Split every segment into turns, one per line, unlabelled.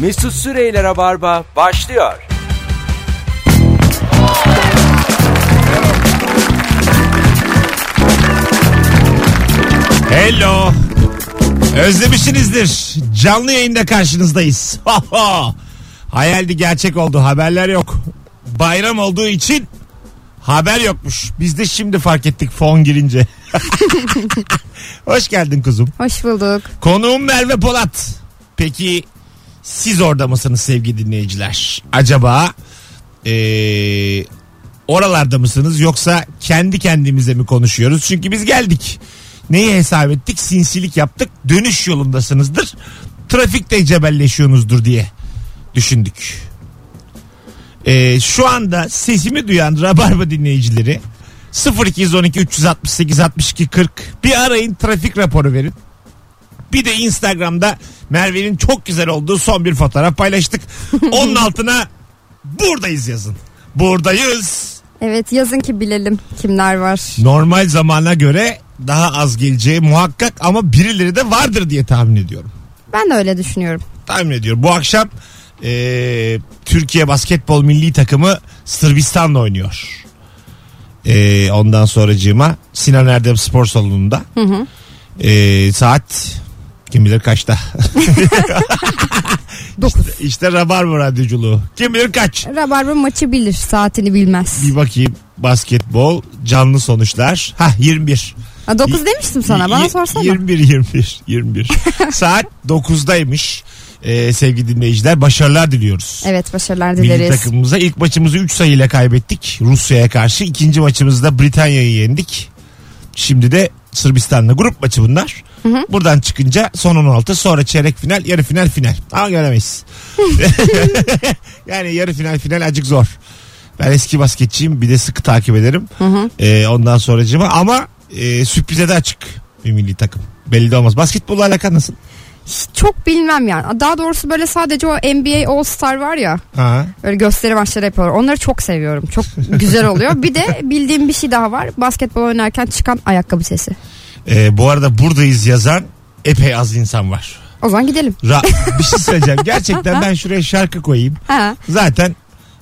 Mesut Süreyler'e barba başlıyor.
Hello. Özlemişsinizdir. Canlı yayında karşınızdayız. Hayaldi gerçek oldu. Haberler yok. Bayram olduğu için haber yokmuş. Biz de şimdi fark ettik fon girince. Hoş geldin kuzum.
Hoş bulduk.
Konuğum Merve Polat. Peki siz orada mısınız sevgili dinleyiciler? Acaba eee, oralarda mısınız yoksa kendi kendimize mi konuşuyoruz? Çünkü biz geldik. Neyi hesap ettik? Sinsilik yaptık. Dönüş yolundasınızdır. Trafikte cebelleşiyorsunuzdur diye düşündük. Eee, şu anda sesimi duyan Rabarba dinleyicileri 0212 368 62 40 bir arayın trafik raporu verin. Bir de Instagram'da Merve'nin çok güzel olduğu son bir fotoğraf paylaştık. Onun altına buradayız yazın. Buradayız.
Evet yazın ki bilelim kimler var.
Normal zamana göre daha az geleceği muhakkak ama birileri de vardır diye tahmin ediyorum.
Ben de öyle düşünüyorum.
Tahmin ediyorum. Bu akşam eee, Türkiye Basketbol Milli Takımı Sırbistan'la oynuyor. Eee, ondan sonracığıma Sinan Erdem Spor Salonu'nda. Eee, saat kim bilir kaçta?
Dokuz.
İşte, işte Rabarba radyoculuğu. Kim bilir kaç?
Rabarba maçı bilir saatini bilmez.
Bir bakayım basketbol canlı sonuçlar. Ha 21.
Ha, 9 demiştim sana
Y-
bana sorsana.
21 21 21. Saat 9'daymış. Ee, sevgili dinleyiciler başarılar diliyoruz.
Evet başarılar
Milli
dileriz.
takımımıza ilk maçımızı 3 sayıyla kaybettik Rusya'ya karşı. İkinci maçımızda Britanya'yı yendik. Şimdi de Sırbistan'la grup maçı bunlar. Buradan çıkınca son 16 sonra çeyrek final yarı final final. Ama göremeyiz. yani yarı final final acık zor. Ben eski basketçiyim bir de sıkı takip ederim. Ee, ondan sonracığıma ama e, sürprize de açık bir milli takım. Belli de olmaz. Basketbolla alakan nasıl?
Çok bilmem yani. Daha doğrusu böyle sadece o NBA All Star var ya.
Ha.
Böyle gösteri maçları yapıyorlar. Onları çok seviyorum. Çok güzel oluyor. Bir de bildiğim bir şey daha var. Basketbol oynarken çıkan ayakkabı sesi.
Ee, bu arada buradayız yazan epey az insan var.
O zaman gidelim.
Ra- bir şey söyleyeceğim. Gerçekten ben şuraya şarkı koyayım.
Ha,
Zaten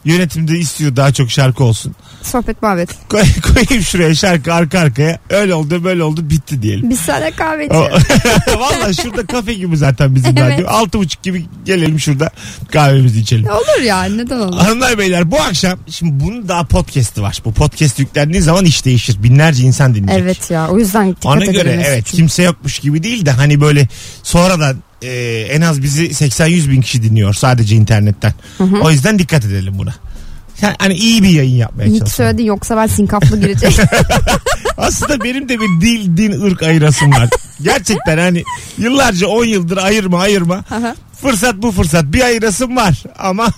yönetimde istiyor daha çok şarkı olsun.
sohbet muhabbet.
Koy, koyayım şuraya şarkı arka arkaya. Öyle oldu böyle oldu bitti diyelim.
Bir sene kahve
O-
içelim.
Valla şurada kafe gibi zaten bizim
Evet.
radyo. Altı buçuk gibi gelelim şurada kahvemizi içelim.
Olur ya neden olur.
Hanımlar beyler bu akşam şimdi bunun daha podcast'i var. Bu podcast yüklendiği zaman iş değişir. Binlerce insan dinleyecek.
Evet ya o yüzden dikkat
Ona göre
edilmesi
evet
için.
kimse yokmuş gibi değil de hani böyle sonradan e, en az bizi 80-100 bin kişi dinliyor sadece internetten. O yüzden dikkat edelim buna. Yani hani iyi bir yayın yapmaya
Hiç
çalışalım.
söyledin yoksa ben sinkaflı girecek.
Aslında benim de bir dil, din, ırk ayırasım var. Gerçekten hani yıllarca 10 yıldır ayırma ayırma.
Aha.
Fırsat bu fırsat. Bir ayırasım var ama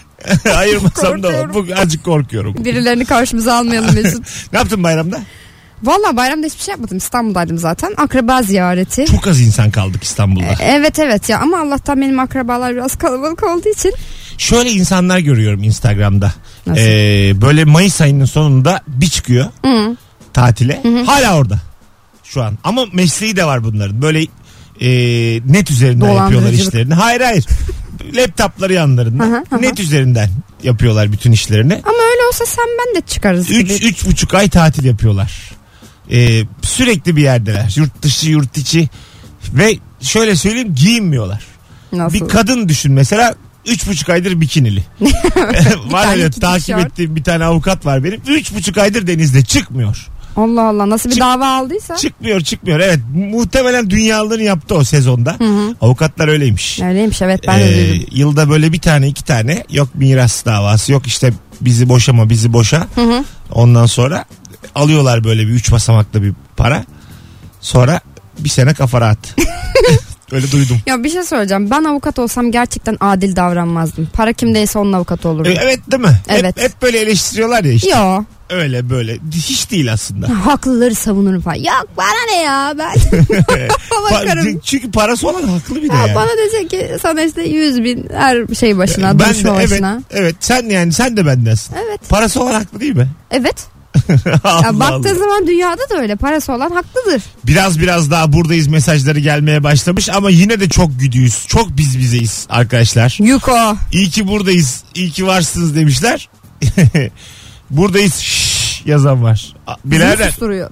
ayırmasam da olur.
Korkuyorum.
Bu azıcık korkuyorum.
Birilerini karşımıza almayalım Mesut.
Ne yaptın bayramda?
Valla bayramda hiçbir şey yapmadım. İstanbul'daydım zaten. Akraba ziyareti.
Çok az insan kaldık İstanbul'da.
Evet evet ya ama Allah'tan benim akrabalar biraz kalabalık olduğu için.
Şöyle insanlar görüyorum Instagram'da.
Nasıl?
Ee, böyle Mayıs ayının sonunda bir çıkıyor tatile. Hala orada şu an. Ama mesleği de var bunların. Böyle e, net üzerinden yapıyorlar
Dolandırıcılık.
işlerini. Hayır hayır. Laptopları yanlarında.
Aha, aha.
Net üzerinden yapıyorlar bütün işlerini.
Ama öyle olsa sen ben de çıkarız. gibi.
Üç, üç buçuk ay tatil yapıyorlar. Ee, sürekli bir yerdeler. Yurt dışı, yurt içi. Ve şöyle söyleyeyim giyinmiyorlar.
Nasıl?
Bir kadın düşün mesela üç buçuk aydır bikinili. var
tane
öyle
iki
takip
tişört.
ettiğim bir tane avukat var benim. Üç buçuk aydır denizde çıkmıyor.
Allah Allah nasıl bir
Çık-
dava aldıysa.
Çıkmıyor çıkmıyor. Evet muhtemelen dünyalarını yaptı o sezonda. Avukatlar öyleymiş.
Öyleymiş evet ben de
Ee,
duydum.
yılda böyle bir tane iki tane yok miras davası yok işte bizi boşama bizi boşa. Ondan sonra alıyorlar böyle bir üç basamaklı bir para. Sonra bir sene kafa rahat. öyle duydum.
Ya bir şey söyleyeceğim. Ben avukat olsam gerçekten adil davranmazdım. Para kimdeyse onun avukatı
E,
olurdum.
Evet değil mi? Hep-
Evet.
Hep, böyle eleştiriyorlar ya işte.
Yo
Öyle böyle. Hiç değil aslında.
haklıları savunurum falan. Yok bana ne ya ben bakarım.
Pa- çünkü parası olan haklı bir de
Ya
yani.
bana dese ki sana işte 100 bin her şey başına,
ben de
duruşma
evet,
başına.
evet sen yani sen de bendensin.
Evet.
Parası olan haklı değil mi?
Evet.
Allah
Ya
Allah.
baktığın zaman dünyada da öyle. Parası olan haklıdır.
Biraz biraz daha buradayız mesajları gelmeye başlamış ama yine de çok güdüyüz. Çok biz bizeyiz arkadaşlar.
Yuko.
İyi ki buradayız. iyi ki varsınız demişler. buradayız şşş yazan var. A-
Bizi
Birader
susturuyor.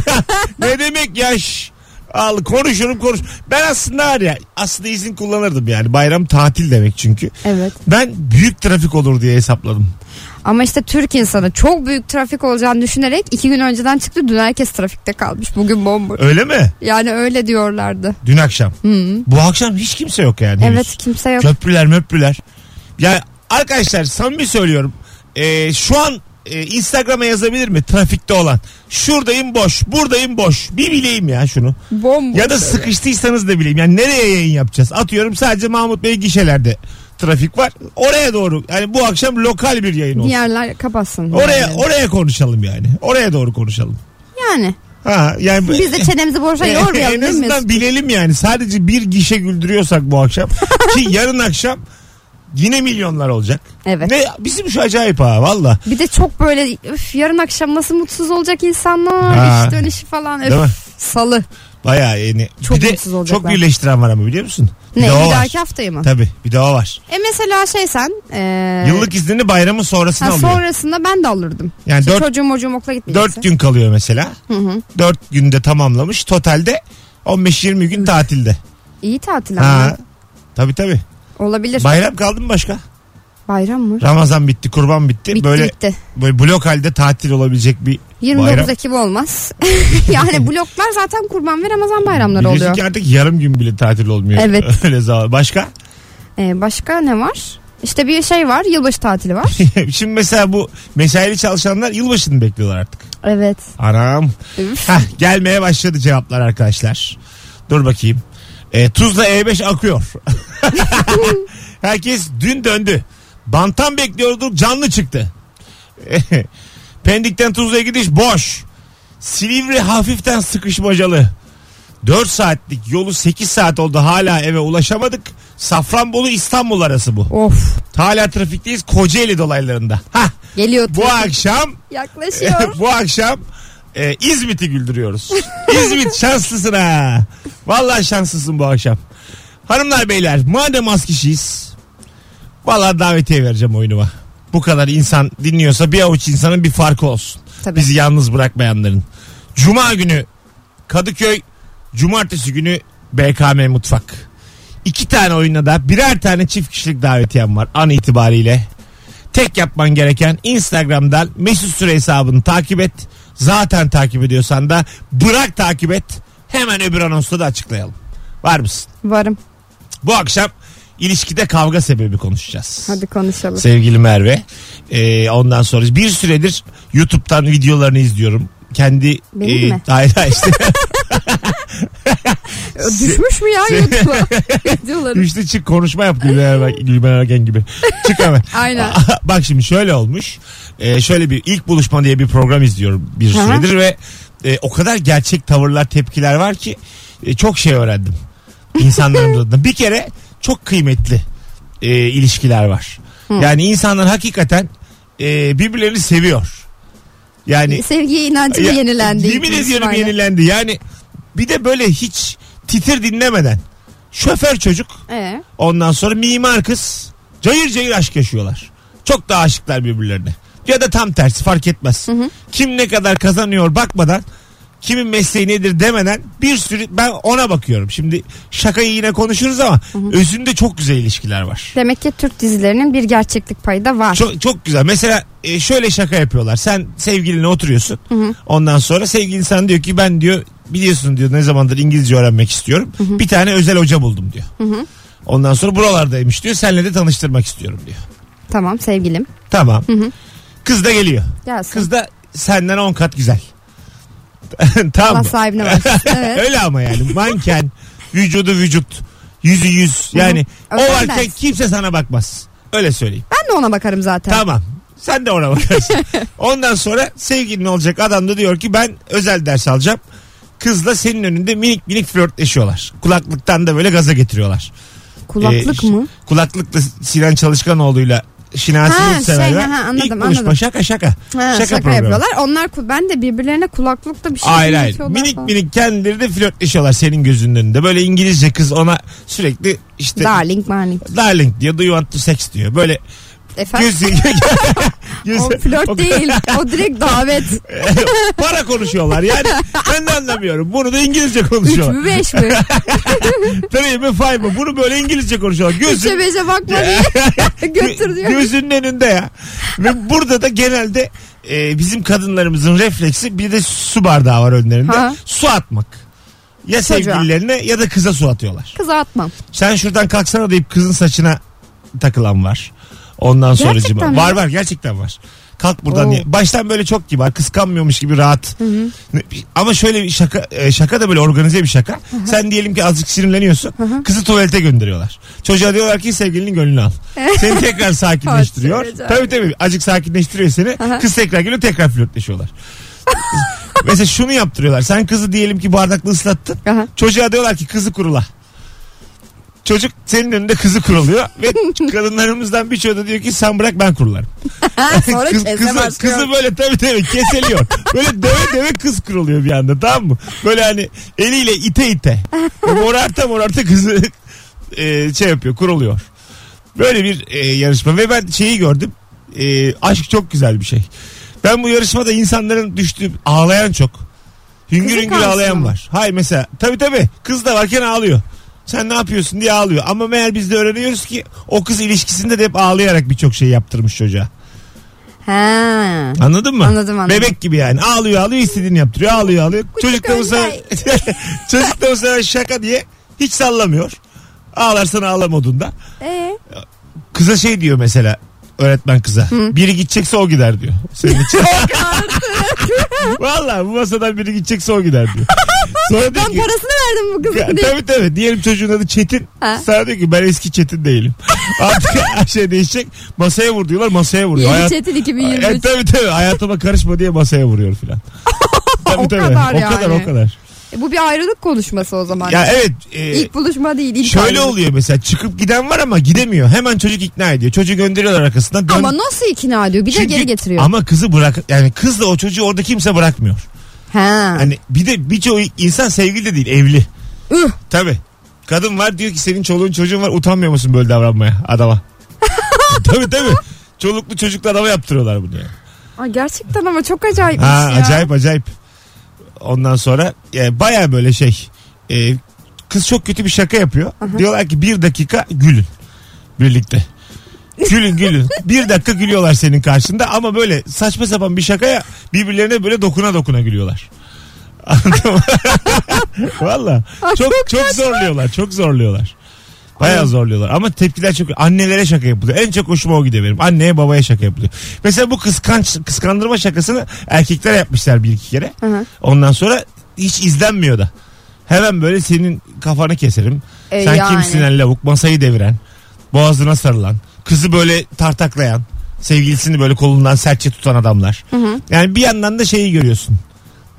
ne demek ya şşş? Al konuşurum konuş. Ben aslında var ya aslında izin kullanırdım yani. Bayram tatil demek çünkü.
evet.
Ben büyük trafik olur diye hesapladım.
Ama işte Türk insanı çok büyük trafik olacağını düşünerek iki gün önceden çıktı. Dün herkes trafikte kalmış. Bugün bomboş.
Öyle mi?
Yani öyle diyorlardı.
Dün akşam. Bu akşam hiç kimse yok yani. henüz.
Evet kimse yok.
Köprüler möprüler. Ya arkadaşlar samimi söylüyorum. Ee, şu an e, Instagram'a yazabilir mi trafikte olan? Şuradayım boş, buradayım boş. Bir bileyim ya şunu.
Bomboş.
Ya da sıkıştıysanız da bileyim. Yani nereye yayın yapacağız? Atıyorum sadece Mahmut Bey gişelerde trafik var. Oraya doğru. Yani bu akşam lokal bir yayın olsun.
Diğerler kapatsın.
Oraya
Yani.
oraya konuşalım yani. Oraya doğru konuşalım.
yani.
Ha yani
Biz de çenemizi boşa yormayalım
en
değil mi?
azından bilelim yani. Sadece bir gişe güldürüyorsak bu akşam ki yarın akşam yine milyonlar olacak.
Evet.
Ne bizim şu acayip ha valla.
Bir de çok böyle üf, yarın akşam nasıl mutsuz olacak insanlar.
Ha.
iş dönüşü falan. Öf,
Değil mi?
salı.
Bayağı yani.
Çok
bir de
mutsuz olacaklar.
çok birleştiren var ama biliyor musun?
Ne?
de o
Bir
var.
dahaki haftayı mı?
Tabii bir de o var.
E mesela şey sen. E,
Yıllık iznini bayramın sonrasına
ha,
alıyor.
sonrasında ben de alırdım.
Yani
İşte
dört,
çocuğum çocuğum okula gitmeyecekse.
dört gün kalıyor mesela. Dört günde tamamlamış. Totalde 15-20 gün tatilde.
İyi tatil
Ha.
ama.
Tabii tabii.
Olabilir.
Bayram kaldı mı başka?
Bayram mı?
Ramazan bitti, kurban bitti.
Bitti
Böyle
bitti.
böyle blok halde tatil olabilecek bir
29
bayram.
Ekim olmaz. yani bloklar zaten kurban ve Ramazan bayramları
Biliyorsun
oluyor.
ki artık yarım gün bile tatil olmuyor.
Evet.
Öyle zaman. Başka?
Ee, başka ne var? İşte bir şey var. Yılbaşı tatili var.
Şimdi mesela bu mesaili çalışanlar yılbaşını bekliyorlar artık.
evet.
Anam.
Üf.
Hah, gelmeye başladı cevaplar arkadaşlar. Dur bakayım. E, Tuzla E5 akıyor. Herkes dün döndü. Bantan bekliyorduk canlı çıktı. Pendik'ten Tuzla'ya gidiş boş. Silivri hafiften sıkışmacalı. 4 saatlik yolu 8 saat oldu hala eve ulaşamadık. Safranbolu İstanbul arası bu.
Of.
Hala trafikteyiz Kocaeli dolaylarında. Hah,
Geliyor.
bu akşam
Yaklaşıyor.
bu akşam e, İzmit'i güldürüyoruz. İzmit şanslısın ha. Vallahi şanslısın bu akşam. Hanımlar beyler madem az kişiyiz. Vallahi davetiye vereceğim oyunuma. Bu kadar insan dinliyorsa bir avuç insanın bir farkı olsun.
Tabii.
Bizi yalnız bırakmayanların. Cuma günü Kadıköy, cumartesi günü BKM Mutfak. İki tane oyuna da birer tane çift kişilik davetiyem var an itibariyle. Tek yapman gereken Instagram'dan Mesut Süre hesabını takip et. Zaten takip ediyorsan da bırak takip et. Hemen öbür anonsu da açıklayalım. Var mısın?
Varım.
Bu akşam ilişkide kavga sebebi konuşacağız.
Hadi konuşalım.
Sevgili Merve. Ee, ondan sonra bir süredir YouTube'dan videolarını izliyorum. Kendi e,
Benim mi?
hayır hayır işte
Ö, Düşmüş mü ya
se-
YouTube'a? Diyorlar.
üçlü çık konuşma yap Gülben Ergen, Gülben Ergen gibi. Çık hemen.
Aynen.
Bak şimdi şöyle olmuş. Ee, şöyle bir ilk buluşma diye bir program izliyorum bir
Hı hı.
süredir ve e, o kadar gerçek tavırlar tepkiler var ki e, çok şey öğrendim. İnsanların durumunda. Bir kere çok kıymetli e, ilişkiler var. Yani insanlar hakikaten e, birbirlerini seviyor. Yani
Sevgiye inancı mı
ya,
yenilendi?
Yemin
İsmail'e?
ediyorum yenilendi. Yani bir de böyle hiç titir dinlemeden şoför çocuk
Ee,
ondan sonra mimar kız cayır cayır aşk yaşıyorlar. Çok da aşıklar birbirlerine. Ya da tam tersi fark etmez. Kim ne kadar kazanıyor bakmadan kimin mesleği nedir demeden bir sürü ben ona bakıyorum. Şimdi şakayı yine konuşuruz ama özünde çok güzel ilişkiler var.
demek ki Türk dizilerinin bir gerçeklik payı da var.
Çok, çok güzel. Mesela e, şöyle şaka yapıyorlar. Sen sevgilinle oturuyorsun. Ondan sonra sevgilin sana diyor ki ben diyor biliyorsun diyor ne zamandır İngilizce öğrenmek istiyorum. Bir tane özel hoca buldum diyor. Ondan sonra buralardaymış diyor. Seninle de tanıştırmak istiyorum diyor.
Tamam sevgilim.
Tamam. Kız da geliyor.
Gelsin.
Kız da senden 10 kat güzel. tamam.
Allah
mı?
sahibine var. Evet.
Öyle ama yani manken vücudu vücut yüzü yüz yani
Hı hı.
o
Özel
varken
ders.
kimse sana bakmaz. Öyle söyleyeyim.
Ben de ona bakarım zaten.
Tamam. Sen de ona bakarsın. Ondan sonra sevgilin olacak adam da diyor ki ben özel ders alacağım. Kızla senin önünde minik minik flörtleşiyorlar. Kulaklıktan da böyle gaza getiriyorlar.
Kulaklık
Ee,
mı?
Kulaklıkla Sinan Çalışkanoğlu'yla şinasi
Ha,
yurtseverler.
şey, ha, anladım,
İlk buluşma
anladım.
şaka şaka.
Ha,
şaka
şaka,
programı.
yapıyorlar. Onlar ku- ben de birbirlerine kulaklıkta bir şey
Hayır hayır.
dinletiyorlar
Minik
falan.
minik kendileri de flörtleşiyorlar senin gözünün önünde. Böyle İngilizce kız ona sürekli işte
Darling Marling.
darling diyor, do you want to sex diyor. Böyle
Efendim?
göz, göz-
O flört değil. O direkt davet.
para konuşuyorlar. Yani ben de anlamıyorum. Bunu da İngilizce
Üç
konuşuyorlar.
mü beş mi?
Three mi five mi? Bunu böyle İngilizce konuşuyorlar.
Üçe
Gözün,
beşe bakma diye. Götür diyor.
gözünün önünde ya. Ve burada da genelde e, bizim kadınlarımızın refleksi bir de su bardağı var önlerinde.
Ha.
Su atmak. Ya
Çocuğa.
sevgililerine ya da kıza su atıyorlar.
Kıza atmam.
Sen şuradan kalksana deyip kızın saçına takılan var. Ondan sonra
Gerçekten mi?
var var gerçekten var. Kalk buradan
Oo.
diye. Baştan böyle çok kibar kıskanmıyormuş gibi rahat. Ne- Ama şöyle bir şaka e, şaka da böyle organize bir şaka. Sen diyelim ki azıcık sinirleniyorsun. Kızı tuvalete gönderiyorlar. Çocuğa diyorlar ki sevgilinin gönlünü al. Seni tekrar sakinleştiriyor.
Acayip.
tabii tabii azıcık sakinleştiriyor seni. Kız tekrar geliyor tekrar flörtleşiyorlar. Mesela şunu yaptırıyorlar. Sen kızı diyelim ki bardakla ıslattın.
Aha.
Çocuğa diyorlar ki kızı kurula. Çocuk senin önünde kızı kuruluyor ve kadınlarımızdan birçoğu da diyor ki sen bırak ben kurularım.
Sonra
Kız-
keze
kızı,
başlıyor.
kızı böyle tabii tabii keseliyor. Böyle döve döve kız kuruluyor bir anda tamam mı? Böyle hani eliyle ite ite. Morarta morarta kızı e, şey yapıyor kuruluyor. Böyle bir e, yarışma ve ben şeyi gördüm. E, aşk çok güzel bir şey. Ben bu yarışmada insanların düştüğü ağlayan çok. Hüngür
Kızı
hüngür
kalsın
ağlayan
ama.
var. Hay mesela tabii tabii kız da varken ağlıyor. Sen ne yapıyorsun diye ağlıyor. Ama meğer biz de öğreniyoruz ki o kız ilişkisinde de hep ağlayarak birçok şey yaptırmış çocuğa.
Ha.
Anladın mı?
Anladım, anladım.
Bebek gibi yani. Ağlıyor ağlıyor istediğini yaptırıyor. Ağlıyor ağlıyor. Çocuk da bu sefer,
Önder.
çocuk da bu sefer şaka diye hiç sallamıyor. Ağlarsan ağlamadığında.
Ee,
Kıza şey diyor mesela öğretmen kıza. Biri gidecekse o gider diyor. Senin için. Valla bu masadan biri gidecekse o gider diyor. Sonra diyor
ben
ki,
parasını verdim bu
ya,
kızın diye.
tabii tabii. Diyelim çocuğun adı Çetin.
Ha.
Sana diyor ki ben eski Çetin değilim. Artık her şey değişecek. Masaya vur diyorlar masaya vuruyor.
Yeni
Hayat-
Çetin
Evet
2023.
e, tabii tabii hayatıma karışma diye masaya vuruyor filan. Tabii,
O
tabii.
kadar
o
yani.
kadar o kadar.
E, bu bir ayrılık konuşması o zaman.
Ya evet e,
ilk buluşma değil. Ilk
şöyle
ayrılık.
oluyor mesela çıkıp giden var ama gidemiyor. Hemen çocuk ikna ediyor. Çocuğu gönderiyorlar arkasından. Dön-
Ama nasıl ikna ediyor? Bir
Çünkü-
de geri getiriyor.
Ama kızı bırak yani kızla o çocuğu orada kimse bırakmıyor.
ha.
Hani bir de birçoğu insan sevgili de değil evli.
Üh.
Tabii. Kadın var diyor ki senin çoluğun çocuğun var utanmıyor musun böyle davranmaya adama? tabii tabii. Çoluklu çocuklu adama yaptırıyorlar bunu yani.
Ay, gerçekten ama çok acayipmiş
Ha,
ya.
acayip acayip. Ondan sonra yani baya böyle şey. e, kız çok kötü bir şaka yapıyor. Diyorlar ki bir dakika gülün. Birlikte. Gülün gülün. bir dakika gülüyorlar senin karşında ama böyle saçma sapan bir şakaya birbirlerine böyle dokuna dokuna gülüyorlar. Anladın mı? Valla. Çok çok zorluyorlar. Çok zorluyorlar. Bayağı zorluyorlar ama tepkiler çok annelere şaka yapılıyor. En çok hoşuma o gidiyor benim. Anneye babaya şaka yapılıyor. Mesela bu kıskanç kıskandırma şakasını erkeklere yapmışlar bir iki kere.
Hı hı.
Ondan sonra hiç izlenmiyor da. Hemen böyle senin kafanı keserim.
E,
Sen
yani.
kimsin lan lavuk? Masayı deviren, boğazına sarılan, kızı böyle tartaklayan, sevgilisini böyle kolundan sertçe tutan adamlar. Yani bir yandan da şeyi görüyorsun.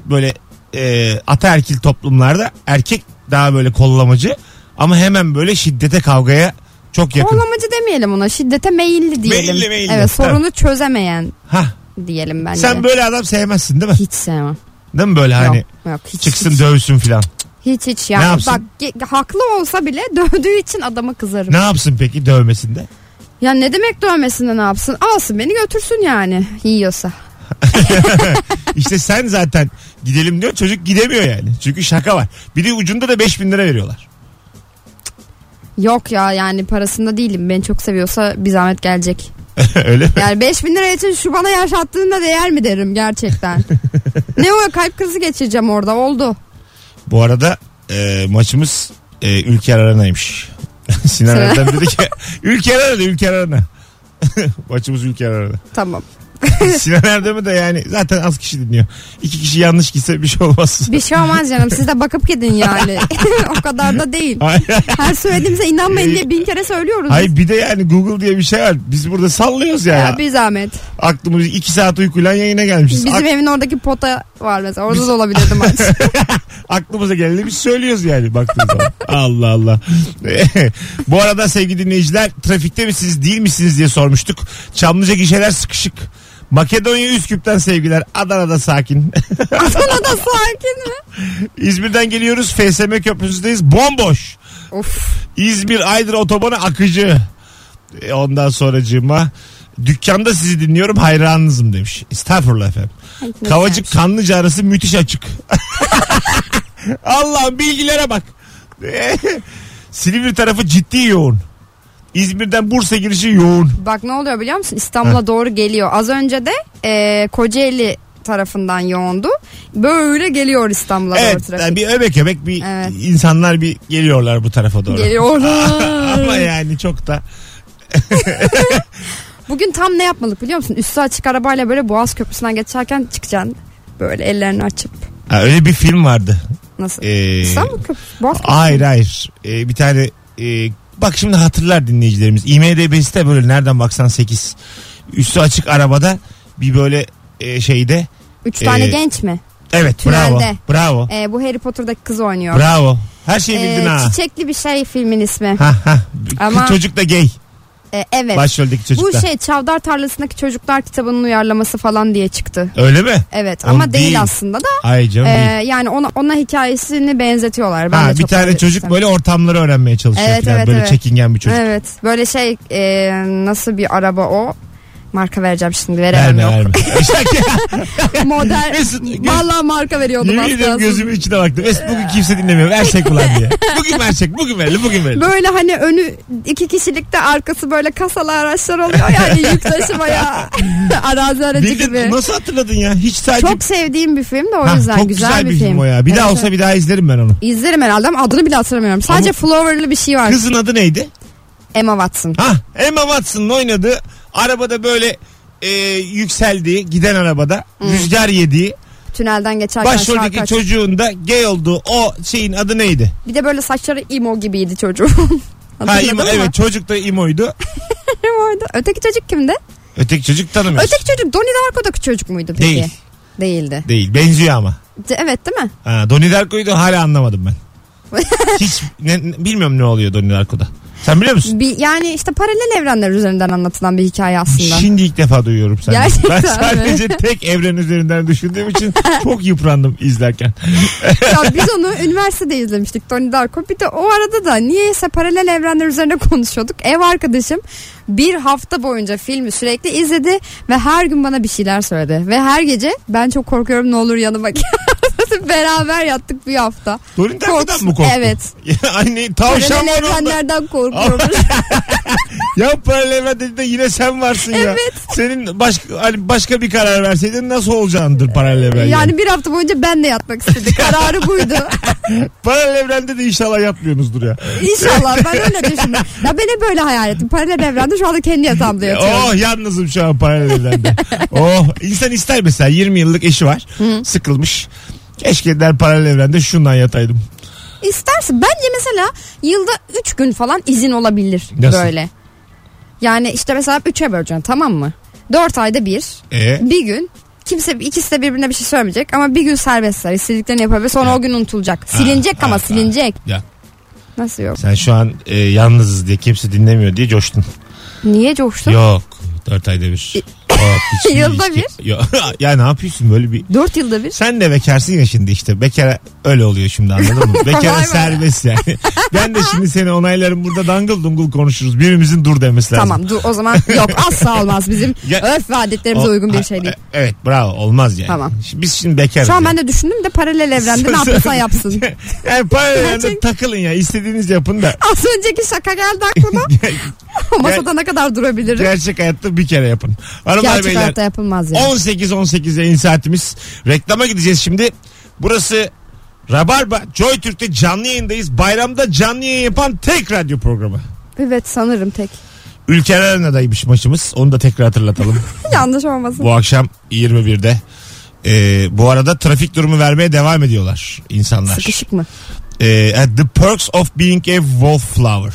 Böyle e, ataerkil toplumlarda erkek daha böyle kollamacı ama hemen böyle şiddete kavgaya çok yakın.
Kovalamacı demeyelim ona. Şiddete meyilli diyelim.
Meyilli, meyilli.
Evet
Tabii.
sorunu çözemeyen
Hah,
diyelim bence.
sen böyle adam sevmezsin değil mi?
Hiç sevmem.
Değil mi böyle hani
yok, yok, hiç,
çıksın
hiç,
dövsün filan.
hiç, hiç yani.
Ne yapsın?
Bak ge- haklı olsa bile dövdüğü için adama kızarım.
Ne yapsın peki dövmesinde?
Ya ne demek dövmesinde ne yapsın? Alsın beni götürsün yani yiyorsa.
İşte sen zaten gidelim diyor çocuk gidemiyor yani. Çünkü şaka var. Bir de ucunda da 5000 lira veriyorlar.
Yok ya yani parasında değilim. Beni çok seviyorsa bir zahmet gelecek.
Öyle mi?
Yani 5000 lira için şu bana yaşattığında değer mi derim gerçekten. ne o kalp krizi geçireceğim orada oldu.
Bu arada e, maçımız e, Ülker Arana'ymış. Sinan
Sinan-
Erdem dedi ki Ülker Arana Ülker Arana. maçımız Ülker Arana.
Tamam.
Sinan Erdem'i de yani zaten az kişi dinliyor. İki kişi yanlış gitse bir şey olmaz.
Bir şey olmaz canım siz de bakıp gidin yani. o kadar da değil.
Hayır,
Her söylediğimize inanmayın diye bin kere söylüyoruz.
hayır bir de yani Google diye bir şey var. Biz burada sallıyoruz ya.
Ya bir zahmet.
Aklımız iki saat uykuyla yayına gelmişiz.
Bizim
Ak-
evin oradaki pota var mesela. Orada
Biz-
da olabilirdim artık.
aklımıza geleni biz söylüyoruz yani baktığınız zaman. Allah Allah. Bu arada sevgili dinleyiciler trafikte misiniz değil misiniz diye sormuştuk. Çamlıca gişeler sıkışık. Makedonya Üsküp'ten sevgiler. Adana'da sakin.
Sana da sakin mi?
İzmir'den geliyoruz. FSM köprüsündeyiz. Bomboş.
Of.
İzmir Aydın otobanı akıcı. E, Ondan sonracığıma dükkanda sizi dinliyorum hayranınızım demiş. Estağfurullah efendim.
ne
Kavacık Kanlıca arası müthiş açık. Allah'ım bilgilere bak. Silivri tarafı ciddi yoğun. İzmir'den Bursa girişi yoğun.
Bak ne oluyor biliyor musun? İstanbul'a doğru geliyor. Az önce de e, Kocaeli tarafından yoğundu. Böyle geliyor İstanbul'a doğru
Evet
trafik.
yani bir öbek öbek bir
Evet.
insanlar bir geliyorlar bu tarafa doğru. Ama
Geliyorlar.
yani çok da
Bugün tam ne yapmalık biliyor musun? Üstü açık arabayla böyle Boğaz Köprüsü'nden geçerken çıkacaksın. Böyle ellerini açıp.
Ha, öyle bir film vardı.
Nasıl?
Ee,
İstanbul Köprüsü. Boğaz Köprüsü.
Hayır hayır. Ee, bir tane e, bak şimdi hatırlar dinleyicilerimiz. IMDB'si de böyle nereden baksan 8. Üstü açık arabada bir böyle e, şeyde.
Üç tane
Ee,
genç mi?
Evet
Tünelde.
bravo. Bravo.
Ee, bu Harry Potter'daki kız oynuyor.
Bravo. Her şeyi
Ee,
bildin ha.
çiçekli bir şey filmin ismi.
Ha ha.
Ama-
Kız Çocuk da gay.
Ee, evet.
Başroldeki çocuk
bu
da.
şey Çavdar Tarlası'ndaki çocuklar kitabının uyarlaması falan diye çıktı.
Öyle mi?
Evet
Oğlum
ama değil,
değil.
aslında da
Ay canım
Ee,
değil.
yani ona, ona hikayesini benzetiyorlar. Ben de
Ha, bir
çok
tane
öyle
çocuk
istemem.
böyle ortamları öğrenmeye çalışıyor
Evet,
falan.
evet,
böyle
evet.
çekingen bir çocuk.
Evet böyle şey e, nasıl bir araba o? Marka vereceğim şimdi veremem
Verme
yok.
verme. İşte
Model
Mesut, gö-
Vallahi marka veriyordum
yemin
az
ediyorum
kalsın.
gözümün içine baktım. Es bugün kimse dinlemiyor. Versek ulan diye. Bugün versek. Bugün verelim. Bugün verelim.
Böyle hani önü iki kişilikte arkası böyle kasalı araçlar oluyor yani yük taşımaya arazi aracı
Bildin,
gibi.
Nasıl hatırladın ya? Hiç sadece...
Çok sevdiğim bir film de o
Ha,
yüzden
çok
güzel,
bir film. o ya. Bir daha
Evet,
olsa
evet.
bir daha izlerim ben onu.
İzlerim herhalde ama adını bile hatırlamıyorum. Sadece Flower'lı bir şey var.
Kızın adı neydi?
Emma Watson.
Ha, Emma Watson'ın oynadığı arabada böyle e, yükseldiği giden arabada rüzgar yediği
Tünelden geçerken şarkı
başroldeki
açtı.
çocuğun da gay olduğu o şeyin adı neydi?
Bir de böyle saçları imo gibiydi çocuğun.
Ha,
Hatırladın
imo,
mı?
evet çocuk da imoydu.
Vardı. Öteki çocuk kimdi?
Öteki çocuk tanımıyorsun.
Öteki çocuk Donnie Darko'daki çocuk muydu peki?
Değil.
Değildi.
Değil benziyor ama.
Ce- Evet değil mi?
Ha, Donnie Darko'yu da hala anlamadım ben. Hiç ne- ne- bilmiyorum ne oluyor Donnie Darko'da. Sen biliyor musun?
Bir, yani işte paralel evrenler üzerinden anlatılan bir hikaye aslında.
Şimdi ilk defa duyuyorum senden.
Gerçekten
ben sadece
mi?
tek evren üzerinden düşündüğüm için çok yıprandım izlerken.
ya biz onu üniversitede izlemiştik Donnie Darko. Bir de o arada da niyeyse paralel evrenler üzerine konuşuyorduk. Ev arkadaşım bir hafta boyunca filmi sürekli izledi ve her gün bana bir şeyler söyledi. Ve her gece ben çok korkuyorum ne olur yanıma gel. Beraber yattık bir hafta.
Donnie Darko'dan
Korksun.
mı korktun?
Evet.
Ya anne tavşan
Paralel
var onda.
evrenlerden korkuyorum.
Ya paralel dediğinde yine sen varsın ya. Senin başka hani başka bir karar verseydin nasıl olacağındır paralel evren.
yani bir hafta boyunca ben de yatmak istedi. Kararı buydu.
Paralel evrende de inşallah yapmıyorsunuzdur ya.
İnşallah ben öyle düşündüm. Ya ben hep böyle hayal ettim. Paralel evrende şu anda kendi yatağımda yatıyorum.
Oh yalnızım şu an paralel evrende. oh insan ister mesela 20 yıllık eşi var. Sıkılmış. Keşke der paralel evrende şundan yataydım.
İstersin. Bence mesela yılda 3 gün falan izin olabilir
Nasıl?
böyle. Yani işte mesela 3'e böleceksin tamam mı? 4 ayda bir.
E
Bir gün kimse ikisi de birbirine bir şey söylemeyecek ama bir gün serbestler. istediklerini yapabilir. Sonra o gün unutulacak. Silinecek
ha,
ama
ha.
silinecek.
ya
Nasıl yok?
sen şu an e, yalnızız diye kimse dinlemiyor diye coştun.
Niye coştun?
Yok. Dört ayda bir. Yok, hiç-
Yılda
hiç- Yok. ya ne yapıyorsun böyle bir
4 yılda bir.
Sen de bekarsın ya şimdi işte. Bekara öyle oluyor şimdi anladın mı? Bekara
Vay be.
serbest yani. ben de şimdi seni onaylarım burada dangıl dungul konuşuruz. Birimizin dur demesi lazım.
Tamam dur o zaman yok asla olmaz bizim
Ya-
örf ve adetlerimize
O-
uygun
ha,
bir şey değil.
e- Evet bravo olmaz yani.
Tamam.
Şimdi Biz şimdi bekarız.
Şu an ben
yani.
de düşündüm de paralel evrende ne yapıyorsa yapsın.
yani paralelde
Gerçek-
takılın ya istediğiniz yapın da
Az önceki şaka geldi aklıma. Masada ne kadar durabilirim?
gerçek hayatta bir kere yapın. Hanımlar
Gerçek
beyler
hayatta yapılmaz ya.
18-18 yayın saatimiz. Reklama gideceğiz şimdi. Burası Rabarba. Joy Türk'te canlı yayındayız. Bayramda canlı yayın yapan tek radyo programı.
Evet sanırım tek.
Ülker Arena'daymış maçımız. Onu da tekrar hatırlatalım.
Yanlış olmasın.
bu akşam 21'de. Ee, bu arada trafik durumu vermeye devam ediyorlar insanlar.
Sıkışık mı?
Ee, at the Perks of Being a Wallflower.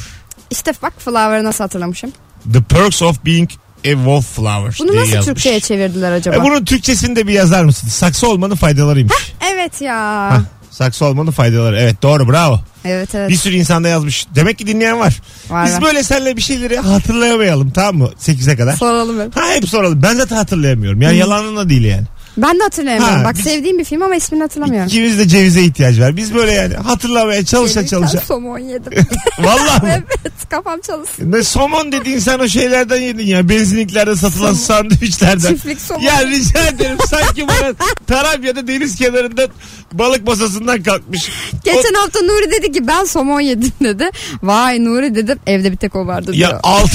İşte bak Flower'ı nasıl hatırlamışım.
The Perks of Being a Wallflower
Bunu
diye
nasıl
yazmış.
Türkçe'ye çevirdiler acaba?
E, bunun Türkçesini de bir yazar mısın? Saksı olmanın faydalarıymış.
Evet ya.
Hah, saksı olmanın faydaları. Evet doğru bravo.
Evet evet.
Bir sürü insanda yazmış. Demek ki dinleyen var.
Var
Biz
var.
böyle seninle bir şeyleri hatırlayamayalım tamam mı? 8'e kadar.
Soralım hep.
Ha hep soralım. Ben zaten hatırlayamıyorum. Yani yalanın da değil yani.
Ben de hatırlayamıyorum.
Ha,
Bak
biz-
sevdiğim bir film ama ismini hatırlamıyorum.
İkimiz de cevize ihtiyaç var. Biz böyle yani hatırlamaya çalışa
Gelirken
çalışa.
somon yedim.
Vallahi mi?
evet kafam çalışsın.
Ne somon dediğin sen o şeylerden yedin ya. Benzinliklerde satılan sandviçlerden.
Çiftlik somon.
Ya rica ederim sanki bana Tarabya'da deniz kenarında balık masasından kalkmış.
Geçen hafta Nuri dedi ki ben somon yedim dedi. Vay Nuri dedim evde bir tek o vardı
O,
diyor.
ya 6,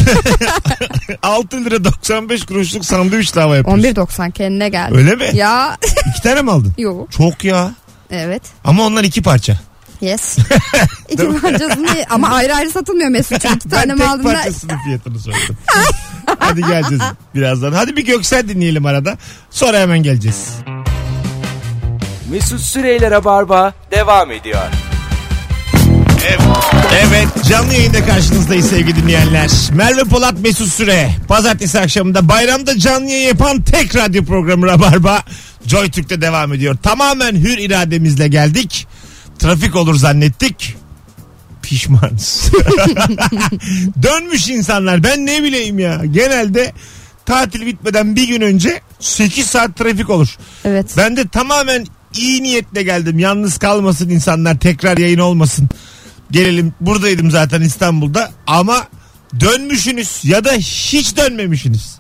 6 lira 95 kuruşluk sandviçle hava yapıyorsun.
11.90 kendine geldi.
Öyle mi?
Ya
İki tane mi aldın?
yok.
Çok ya.
Evet.
Ama onlar iki parça.
Yes. İki parçasını ama ayrı ayrı satılmıyor Mesut'un. İki tane
Ben
mi
tek
aldın da-
parçasının fiyatını sordum. Hadi geleceğiz birazdan. Hadi bir Göksel dinleyelim arada. Sonra hemen geleceğiz.
Mesut Süreyler'e barba devam ediyor.
Evet canlı yayında karşınızdayız sevgili dinleyenler. Merve Polat Mesut Süre. Pazartesi akşamında bayramda canlı yayın yapan tek radyo programı Rabarba. Joy Türk'te devam ediyor. Tamamen hür irademizle geldik. Trafik olur zannettik. Pişmanız. Dönmüş insanlar ben ne bileyim ya. Genelde tatil bitmeden bir gün önce 8 saat trafik olur.
Evet.
Ben de tamamen iyi niyetle geldim. Yalnız kalmasın insanlar tekrar yayın olmasın. Gelelim buradaydım zaten İstanbul'da ama dönmüşsünüz ya da hiç dönmemişsiniz.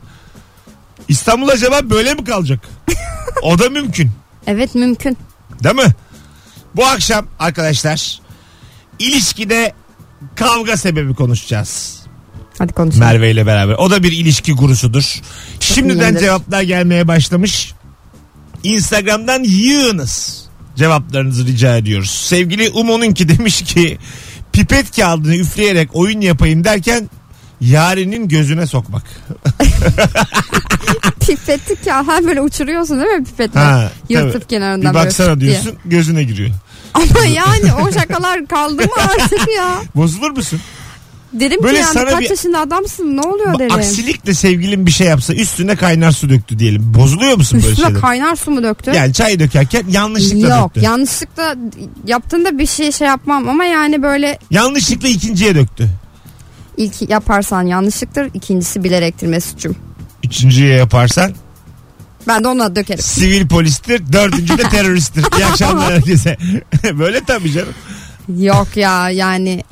İstanbul acaba böyle mi kalacak? o da mümkün
Evet mümkün.
değil mi? Bu akşam arkadaşlar ilişkide kavga sebebi konuşacağız.
Hadi konuşalım.
Merve ile beraber. O da bir ilişki gurusudur. Şimdiden
iyidir.
cevaplar gelmeye başlamış. Instagram'dan yığınız. Cevaplarınızı rica ediyoruz. Sevgili Umo'nunki demiş ki pipet kağıdını üfleyerek oyun yapayım derken yarinin gözüne sokmak.
Pipetli ya. Ha böyle uçuruyorsun değil mi pipetle?
Ha,
Yırtıp
tabii.
kenarından
Bir
böyle
baksana
fıt diye.
diyorsun gözüne giriyor.
Ama yani o şakalar kaldı mı artık ya?
Bozulur musun?
Derim
Böyle
ki yani
sana
kaç
bir-
yaşında adamsın ne oluyor derim.
Aksilikle sevgilin bir şey yapsa üstüne kaynar su döktü diyelim. Bozuluyor musun böyle
Üstüne
şeyler?
kaynar su mu döktü?
Yani çay dökerken yanlışlıkla
Yok
döktü.
yanlışlıkla yaptığında bir şey şey yapmam ama yani böyle
Yanlışlıkla ikinciye döktü.
ilk yaparsan yanlışlıktır ikincisi bilerektir Mesut'cum.
Üçüncüye yaparsan
Ben de ona dökerim.
sivil polistir. Dördüncü de teröristtir. İyi akşamlar herkese. Böyle tabii canım.
Yok ya yani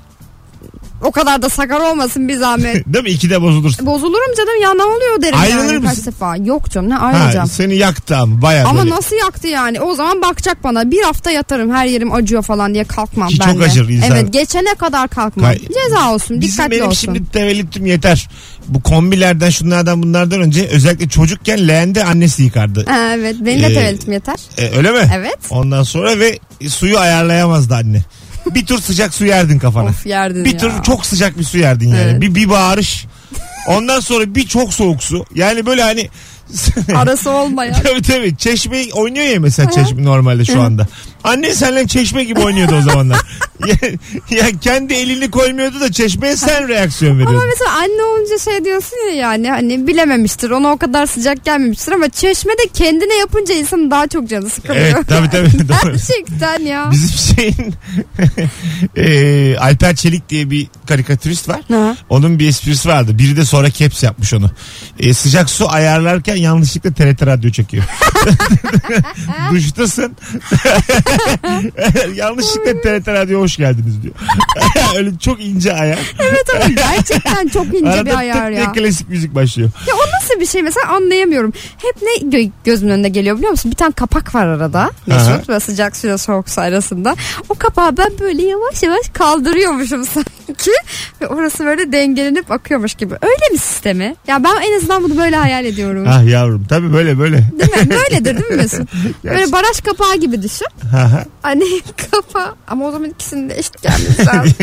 o kadar da sakar olmasın bir zahmet.
Değil mi? İkide bozulursun.
Bozulurum canım ya ne oluyor derim
Ayrılır
yani kaç
mısın?
defa. Yok canım ne
Ha,
ayrılacağım.
seni yaktı ama bayağı
Ama
böyle.
nasıl yaktı yani? O zaman bakacak bana. Bir hafta yatarım her yerim acıyor falan diye kalkmam
Ki
ben
çok
de.
acır insan.
Evet geçene kadar kalkmam.
Kay-
Ceza olsun
Bizim
dikkatli
benim
olsun.
şimdi tevellütüm yeter. Bu kombilerden şunlardan bunlardan önce özellikle çocukken leğende annesi yıkardı.
Evet benim de
Ee,
tevellütüm yeter.
E, öyle mi?
Evet.
Ondan sonra ve suyu ayarlayamazdı anne. Bir tur sıcak su yerdin kafana.
Of yerdin
bir
ya.
tur çok sıcak bir su yerdin yani.
Evet.
Bir, bir bağırış. Ondan sonra bir çok soğuk su. Yani böyle hani
Arası olmayan.
Tabii tabii. Çeşme oynuyor ya mesela çeşme normalde şu anda. Anne senle çeşme gibi oynuyordu o zamanlar. ya, ya kendi elini koymuyordu da çeşmeye sen reaksiyon
Ama
veriyordun.
mesela anne olunca şey diyorsun ya yani hani bilememiştir ona o kadar sıcak gelmemiştir ama çeşmede kendine yapınca insanın daha çok canı sıkılıyor.
Evet tabii tabii. Doğru.
Gerçekten ya.
Bizim şeyin eee, Alper Çelik diye bir karikatürist var.
Ha.
Onun bir esprisi vardı. Biri de sonra caps yapmış onu. E, sıcak su ayarlarken yanlışlıkla TRT radyo çekiyor. Duştasın. yanlışlıkla TRT radyo hoş geldiniz diyor. Öyle çok ince ayar.
Evet ama gerçekten çok ince bir
Arada
ayar
tık diye
ya.
klasik müzik başlıyor.
Ya o nasıl bir bir şey mesela anlayamıyorum. Hep ne gö- gözümün önüne geliyor biliyor musun? Bir tane kapak var arada. Mesut ve sıcak suyla soğuk su arasında. O kapağı ben böyle yavaş yavaş kaldırıyormuşum sanki. Ve orası böyle dengelenip akıyormuş gibi. Öyle mi sistemi? Ya ben en azından bunu böyle hayal ediyorum.
Ah yavrum tabii böyle böyle.
Değil mi? Böyledir değil mi Mesut? Böyle
Gerçi-
baraj kapağı gibi düşün.
Ha, ha.
Hani kapağı. Ama o zaman ikisinin de eşit gelmesi lazım.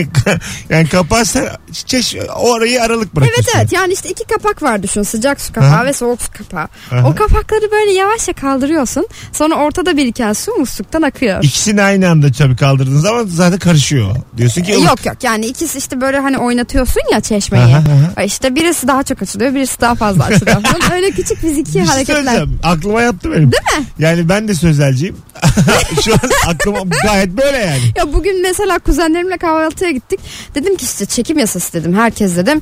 yani kapatsa çeş, orayı aralık bırakırsın.
Evet evet yani işte iki kapak var düşün sıcak su kapağı
Aha.
ve soğuk su kapağı.
Aha.
O kapakları böyle yavaşça kaldırıyorsun sonra ortada biriken su musluktan akıyor.
İkisini aynı anda tabii kaldırdığın zaman zaten karışıyor. Diyorsun ki
Yok yok yani ikisi işte böyle hani oynatıyorsun ya çeşmeyi.
Aha, aha.
İşte birisi daha çok açılıyor birisi daha fazla açılıyor. falan. Öyle küçük fiziki
Bir şey
hareketler.
söyleyeceğim. Aklıma yattı benim. Değil mi? Yani ben de sözelciyim. Şu an aklıma gayet böyle yani.
Ya bugün mesela kuzenlerimle kahvaltıya gittik. Dedim ki işte çekim yasası dedim. Herkes dedim.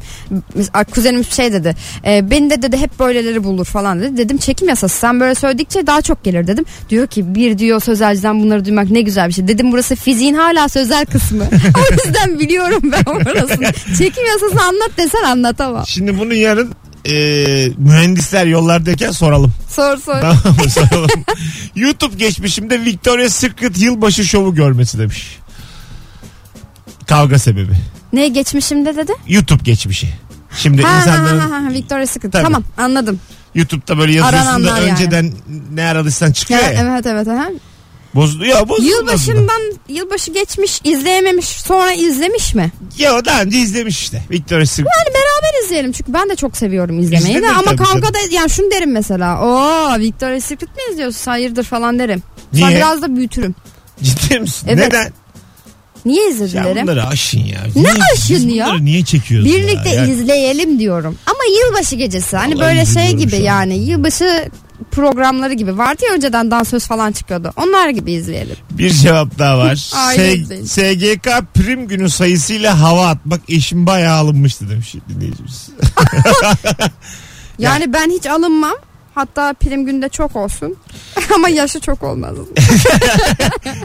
Mesela Kuzenim şey dedi. E, beni de dedi hep böyleleri bulur falan dedi. Dedim çekim yasası sen böyle söyledikçe daha çok gelir dedim. Diyor ki bir diyor sözelciden bunları duymak ne güzel bir şey. Dedim burası fiziğin hala sözel kısmı. o yüzden biliyorum ben orasını. çekim yasasını anlat desen anlatamam.
Şimdi bunu yarın e, mühendisler yollardayken soralım.
Sor sor.
Tamam mı? soralım. YouTube geçmişimde Victoria Secret yılbaşı şovu görmesi demiş. Kavga sebebi.
ne geçmişimde dedi?
YouTube geçmişi. Şimdi
Ha, ha,
insanların
ha, ha, ha, Victoria's Secret.
Tabii.
Tamam anladım.
YouTube'da böyle yazıyorsun da
Arananlar yani.
önceden ne aradıysan çıkıyor ya.
evet evet. Aha.
Bozuldu ya bozuldu. aslında.
Yılbaşından yılbaşı geçmiş izleyememiş sonra izlemiş mi?
Ya daha önce izlemiş işte. Victoria Secret.
Hani beraber izleyelim çünkü ben de çok seviyorum izlemeyi de
İzlenir
ama
tabii
kavga
canım.
da yani şunu derim mesela. Oo Victoria's Secret mi izliyorsun hayırdır falan derim. Sonra
Niye?
biraz da büyütürüm.
Ciddi misin?
Evet.
Neden?
Niye izledin
Ya
derim.
bunları aşın ya.
Ne
Niye-
aşın
siz
ya?
Bunları niye çekiyorsun
Birlikte
ya? Yani
izleyelim diyorum. Ama yılbaşı gecesi hani
Vallahi
böyle şey
üzülüyorum
gibi
şu an.
yani yılbaşı programları gibi vardı ya önceden dansöz falan çıkıyordu. Onlar gibi izleyelim.
Bir cevap daha var.
Aile
S-
izleyin.
SGK prim günü sayısıyla hava atmak eşim bayağı alınmıştı demiş dinleyicimiz.
Yani ben hiç alınmam. Hatta prim günde çok olsun. ama yaşı çok olmaz.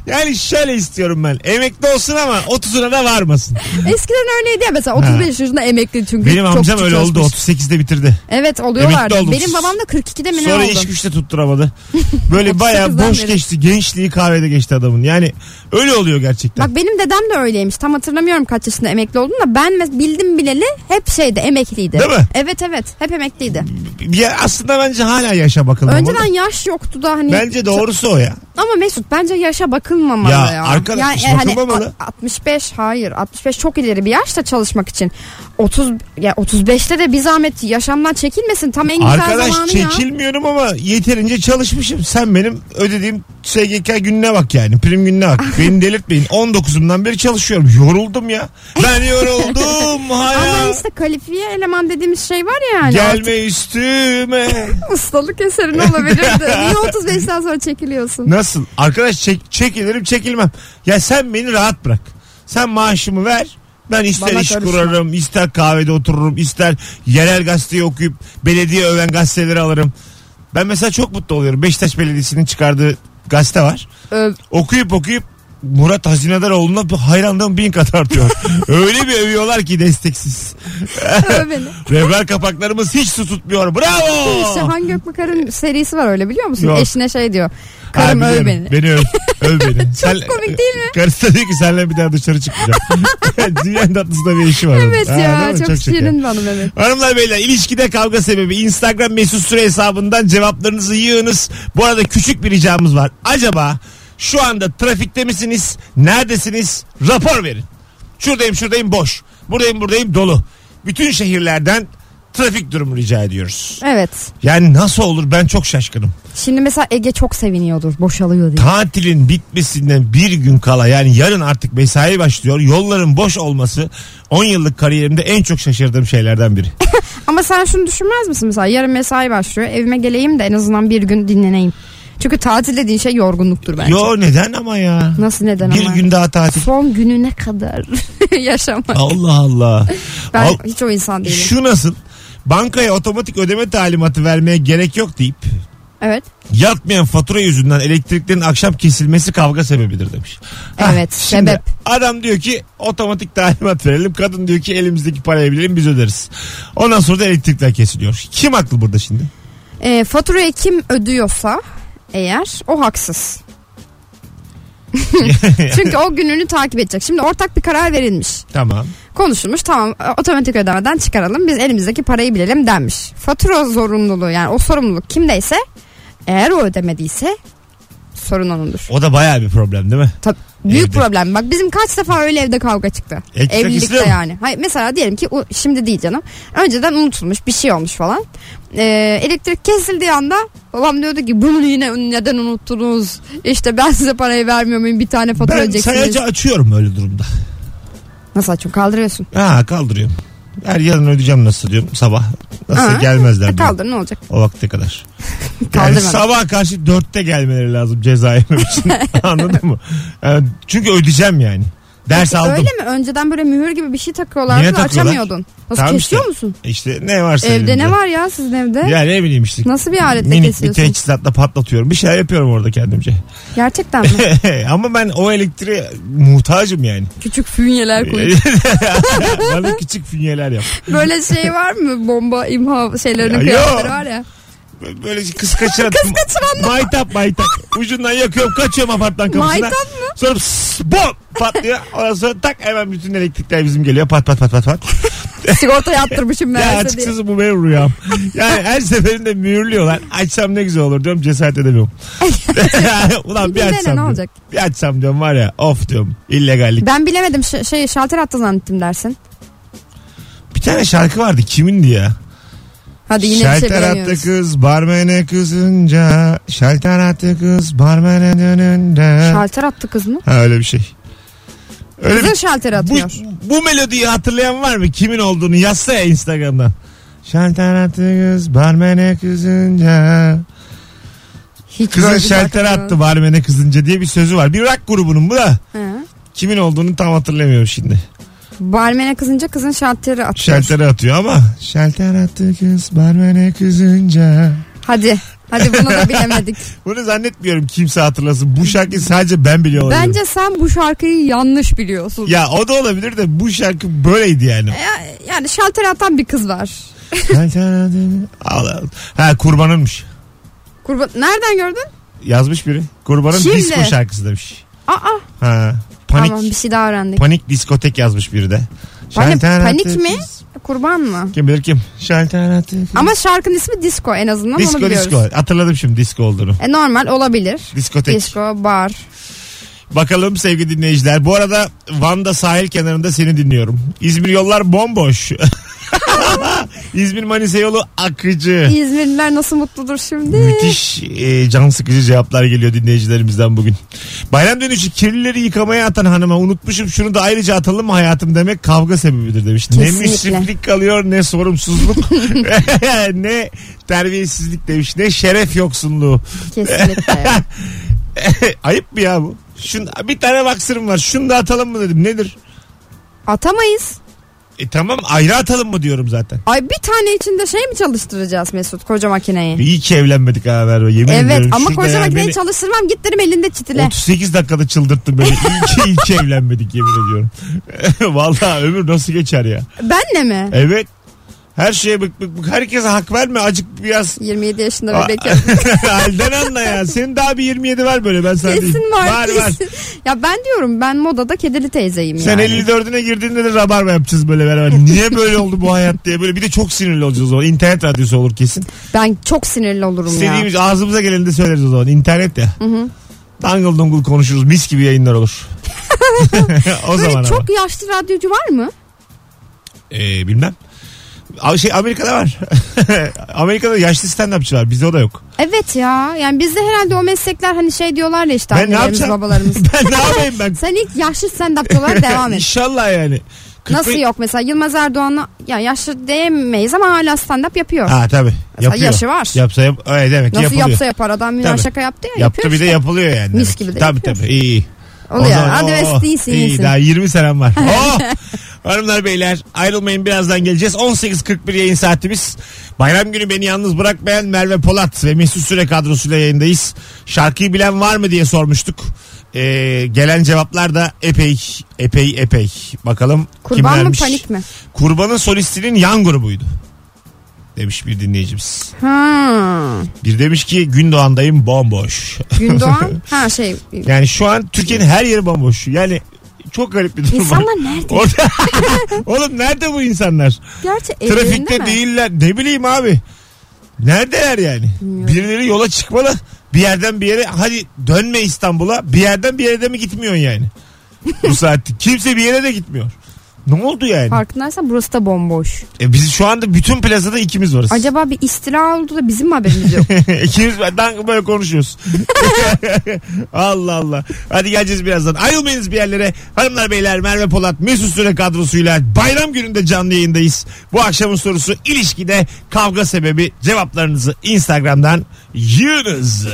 Yani şöyle istiyorum ben. Emekli olsun ama 30'una da varmasın.
Eskiden öyleydi ya mesela 35 yaşında emekli çünkü.
Benim
çok
amcam
küçük
öyle oldu.
çalışmış.
38'de bitirdi.
Evet oluyorlardı.
Emekli oldum.
Benim babam da 42'de mi ne
Sonra
oldu?
iş güçte tutturamadı. Böyle bayağı
39'dan
boş
beri.
geçti. Gençliği kahvede geçti adamın. Yani öyle oluyor gerçekten.
Bak benim dedem de öyleymiş. Tam hatırlamıyorum kaç yaşında emekli oldum da ben mes- bildim bileli hep şeyde emekliydi.
Değil mi?
Evet evet hep emekliydi.
Ya aslında bence hala yaşa bakılmalı.
Önceden yaş yoktu da hani.
Hmm, Bence doğrusu o ya.
Ama Mesut bence yaşa bakılmamalı ya. e, hani
Ya arkadaş, hiç bakılmamalı.
a- 65 hayır 65 çok ileri bir yaşta çalışmak için. 30 ya 35'te de bir zahmet yaşamdan çekilmesin. Tam en güzel zamanı
Arkadaş
ya.
çekilmiyorum ama yeterince çalışmışım. Sen benim ödediğim SGK gününe bak yani. Prim gününe bak. Beni delirtmeyin. 19'umdan beri çalışıyorum. Yoruldum ya. Ben yoruldum.
Ama
Haya.
işte kalifiye eleman dediğimiz şey var ya yani.
Gelme üstüme.
Ustalık eserin olabilirdi. Niye 35'ten sonra çekiliyorsun?
Nasıl? Arkadaş çek, çekilirim çekilmem. Ya sen beni rahat bırak. Sen maaşımı ver. Ben ister
Bana
iş
karışma.
kurarım, ister kahvede otururum, ister yerel gazeteyi okuyup belediye öven gazeteleri alırım. Ben mesela çok mutlu oluyorum. Beşiktaş Belediyesi'nin çıkardığı gazete var.
Öv.
Okuyup okuyup Murat Hazinedaroğlu'na bir hayranlığım bin kat artıyor. Öyle bir övüyorlar ki desteksiz.
Öv beni.
Revber kapaklarımız hiç su tutmuyor. Bravo!
Şahan Gökbakar'ın serisi var öyle biliyor musun?
Yok.
Eşine şey diyor.
Ha,
Karım öv
biliyorum.
beni.
Beni öv. Öv beni. Çok
komik değil mi?
Karısı da diyor ki senle bir daha dışarı çıkmayacağım. Dünyanın tatlısında bir işi var. onun.
Evet
Ha,
ya
değil mi?
çok,
şeker.
şirin bana evet.
Hanımlar beyler ilişkide kavga sebebi Instagram mesut süre hesabından cevaplarınızı yığınız. Bu arada küçük bir ricamız var. Acaba şu anda trafikte misiniz? Neredesiniz? Rapor verin. Şuradayım şuradayım boş. Buradayım buradayım dolu. Bütün şehirlerden trafik durumu rica ediyoruz.
Evet.
Yani nasıl olur ben çok şaşkınım.
Şimdi mesela Ege çok seviniyordur boşalıyor diye.
tatilin bitmesinden bir gün kala yani yarın artık mesai başlıyor. Yolların boş olması 10 yıllık kariyerimde en çok şaşırdığım şeylerden biri.
Ama sen şunu düşünmez misin mesela yarın mesai başlıyor evime geleyim de en azından bir gün dinleneyim. Çünkü tatil dediğin şey yorgunluktur bence.
Yo neden ama ya?
Nasıl neden
bir
ama?
gün daha tatil.
Son gününe kadar yaşamak.
Allah Allah.
Ben
Al-
hiç o insan değilim.
şu nasıl? Bankaya otomatik ödeme talimatı vermeye gerek yok deyip
Evet.
Yatmayan fatura yüzünden elektriklerin akşam kesilmesi kavga sebebidir demiş.
Evet,
şimdi
sebep.
Adam diyor ki otomatik talimat verelim. Kadın diyor ki elimizdeki parayı bilelim biz öderiz. Ondan sonra da elektrikler kesiliyor. Kim haklı burada şimdi?
Ee, faturayı kim ödüyorsa eğer o haksız. Çünkü o gününü takip edecek. Şimdi ortak bir karar verilmiş.
Tamam.
Konuşulmuş tamam e, otomatik ödemeden çıkaralım. Biz elimizdeki parayı bilelim denmiş. Fatura zorunluluğu yani o sorumluluk kimdeyse eğer o ödemediyse sorun onundur.
O da bayağı bir problem değil mi?
Tabii, büyük
Evde.
problem. Bak bizim kaç defa öyle evde kavga çıktı.
Ekmek
Evlilikte
istiyor mu?
yani. Hayır, mesela diyelim ki u- şimdi değil canım. Önceden unutulmuş bir şey olmuş falan. Ee, elektrik kesildiği anda babam diyordu ki bunu yine neden unuttunuz? İşte ben size parayı vermiyor muyum bir tane fatura
Ben
ödeyeceksiniz.
sayacı açıyorum öyle durumda.
Nasıl açıyorsun kaldırıyorsun.
Ha kaldırıyorum. Her yarın ödeyeceğim nasıl diyorum sabah. Nasıl
Ha,
gelmezler
E,
diyorum.
kaldır ne olacak?
O vakte kadar. Yani
Kaldırmadım.
sabah karşı dörtte gelmeleri lazım ceza yemek için. Anladın mı? Yani çünkü ödeyeceğim yani. Ders aldım.
Öyle mi? Önceden böyle mühür gibi bir şey takıyorlardı
Niye
da
takıyorlar?
açamıyordun. Nasıl
Tamam
kesiyor
işte.
musun?
İşte ne varsa
Evde
elimde.
ne var ya sizin evde?
Ya ne bileyim işte.
Nasıl bir aletle
Minik
kesiyorsun?
bir teçhizatla patlatıyorum. Bir şeyler yapıyorum orada kendimce.
Gerçekten mi?
Ama ben o elektriğe muhtacım yani.
Küçük fünyeler koyuyor.
Bana küçük fünyeler yap.
Böyle şey var mı? Bomba imha şeylerinin
Ya
kıyafetleri
yok.
var ya.
Böyle kız kaçıran.
Kız kaçıranlar.
Maytap maytap. Ucundan yakıyorum kaçıyorum apartman kapısına.
Maytap
mı? Sonra pss, bom patlıyor. Ondan sonra tak hemen bütün elektrikler bizim geliyor. Pat pat pat pat pat.
Sigorta yaptırmışım
ya
meğerse diye.
açıkçası bu benim rüyam. Yani her seferinde mühürlüyorlar. Açsam ne güzel olur diyorum cesaret edemiyorum. Ulan bir
Bilene
açsam
ne
diyorum.
olacak?
Bir açsam diyorum var ya of diyorum. illegallik.
Ben bilemedim Ş- şey şalter attı zannettim dersin.
Bir tane şarkı vardı kimindi ya?
Hadi yine bir şey
Şalter attı
bilemiyoruz.
kız barmene kızınca. Şalter attı kız barmene dönünce.
Şalter attı kız mı?
Ha öyle bir şey. Öyle
Kızın
bir-
şalteri
bu,
atıyor.
bu melodiyi hatırlayan var mı? Kimin olduğunu yazsa ya Instagram'dan. Şalter attı kız barmene kızınca.
Hiç
Kızın
böyle bir
şalter
şarkı-
attı barmene kızınca diye bir sözü var. Bir rock grubunun bu da.
He.
Kimin olduğunu tam hatırlamıyorum şimdi.
Barmene kızınca kızın şalteri atıyor.
Şaltere atıyor ama. Şalter attı kız barmene kızınca.
Hadi. Hadi bunu da bilemedik.
Bunu zannetmiyorum kimse hatırlasın. Bu şarkıyı sadece ben biliyor olabilirim.
Bence sen bu şarkıyı yanlış biliyorsun.
Ya o da olabilir de bu şarkı böyleydi yani.
Ya- yani şalter atan bir kız var.
Şalter attı- Allah Allah. ha kurbanınmış.
Kurban nereden gördün?
Yazmış biri. Kurbanın
Şimdi.
disco şarkısı demiş.
Aa
Ha. Panik.
tamam bir şey daha öğrendik.
Panik diskotek yazmış biri de.
Panik-
Şalter attı
panik mi?
kız.
Kurban mı?
Kim bilir kim? Şalter attı kız.
Ama şarkının ismi disco en azından onu
Disko
biliyoruz.
disko. Hatırladım şimdi disko olduğunu.
E, normal olabilir.
Diskotek.
Disco, bar.
Bakalım sevgili dinleyiciler. Bu arada Van'da sahil kenarında seni dinliyorum. İzmir yollar bomboş. İzmir Manisa yolu akıcı.
İzmirliler nasıl mutludur şimdi?
Müthiş e, can sıkıcı cevaplar geliyor dinleyicilerimizden bugün. Bayram dönüşü kirlileri yıkamaya atan hanıma unutmuşum şunu da ayrıca atalım mı hayatım demek kavga sebebidir demiş. Ne
Kesinlikle.
müsriflik kalıyor ne sorumsuzluk ne terbiyesizlik demiş ne şeref yoksunluğu.
Kesinlikle.
Ayıp mı ya bu? Şun, bir tane baksırım var şunu da atalım mı dedim nedir?
Atamayız.
E tamam ayrı atalım mı diyorum zaten.
Ay bir tane içinde şey mi çalıştıracağız Mesut koca makineyi?
İyi ki evlenmedik ha Merve yemin
Evet
ediyorum.
ama
Şurada
koca
ya
makineyi
beni-
çalıştırmam git derim elinde çitile.
38 dakikada çıldırttın beni. İyi ki, iyi ki evlenmedik yemin ediyorum. Vallahi ömür nasıl geçer ya.
Benle mi?
Evet. Her şeye bık bık bık. Herkese hak verme. Acık biraz
27 yaşında
Aa,
bebekken.
halden anla ya. Senin daha bir 27 var böyle ben sana diyeyim.
Kesin var.
Var var.
kesin. Ya ben diyorum ben modada kedili teyzeyim
Sen
yani.
54'üne girdiğinde de rabarba yapacağız böyle beraber. Niye böyle oldu bu hayat diye böyle. Bir de çok sinirli olacağız o zaman. İnternet radyosu olur kesin.
Ben çok sinirli olurum ya.
İstediğimiz ağzımıza geleni de söyleriz o zaman. İnternet ya. Dangle dungle konuşuruz. Mis gibi yayınlar olur. o
Böyle
zaman ama.
çok yaşlı radyocu var mı?
Ee, bilmem. Abi şey Amerika'da var. Amerika'da yaşlı stand-upçı var. Bizde o da yok.
Evet ya. Yani bizde herhalde o meslekler hani şey diyorlar ya işte
Ben ne
annelerimiz
yapacağım?
babalarımız.
ben ne yapayım ben?
Sen ilk yaşlı stand-upçı olarak devam et.
İnşallah yani. Kırk
Nasıl
beş-
yok mesela Yılmaz Erdoğan'a ya yaşlı diyemeyiz ama hala stand-up yapıyor.
Ha tabii. Yapıyor.
yaşı var.
Yapsa yap. Öyle demek ki
Nasıl
yapılıyor.
yapsa yapar adam Münir
Tabii.
şaka yaptı ya
Yaptı
yapıyor
bir de
işte.
yapılıyor yani.
Mis
demek.
gibi de
Tabii
yapıyor.
tabii iyi. O
Oluyor.
zaman-
Hadi
Oo,
rest, iyisin,
iyi.
iyisin.
Daha 20 senem var. Oo! Oh! Hanımlar beyler ayrılmayın birazdan geleceğiz. 18.41 yayın saatimiz. Bayram günü beni yalnız bırakmayan Merve Polat ve Mesut Süre kadrosuyla yayındayız. Şarkıyı bilen var mı diye sormuştuk. Ee, gelen cevaplar da epey epey epey. Bakalım
Kurban mı
kimlermiş?
panik mi?
Kurbanın solistinin yan grubuydu. Demiş bir dinleyicimiz.
Ha.
Bir demiş ki Gündoğan'dayım bomboş.
Gündoğan. ha şey.
Yani şu an Türkiye'nin her yeri bomboş. Yani çok garip bir durum var.
İnsanlar nerede?
Orada... Oğlum nerede bu insanlar?
Gerçi evlerinde
Trafikte
mi?
değiller. Ne bileyim abi. Neredeler yani? Birileri yola çıkmalı. Bir yerden bir yere hadi dönme İstanbul'a. Bir yerden bir yere de mi gitmiyorsun yani? bu saatte. Kimse bir yere de gitmiyor. Ne oldu yani?
Farkındaysan burası da bomboş.
E biz şu anda bütün plazada ikimiz varız.
Acaba bir istila oldu da bizim mi haberimiz yok?
İkimiz dan- böyle konuşuyoruz. Allah Allah. Hadi geleceğiz birazdan. Ayrılmayınız bir yerlere. Hanımlar beyler Merve Polat Mesut Süre kadrosuyla bayram gününde canlı yayındayız. Bu akşamın sorusu ilişkide kavga sebebi cevaplarınızı Instagram'dan yığınız.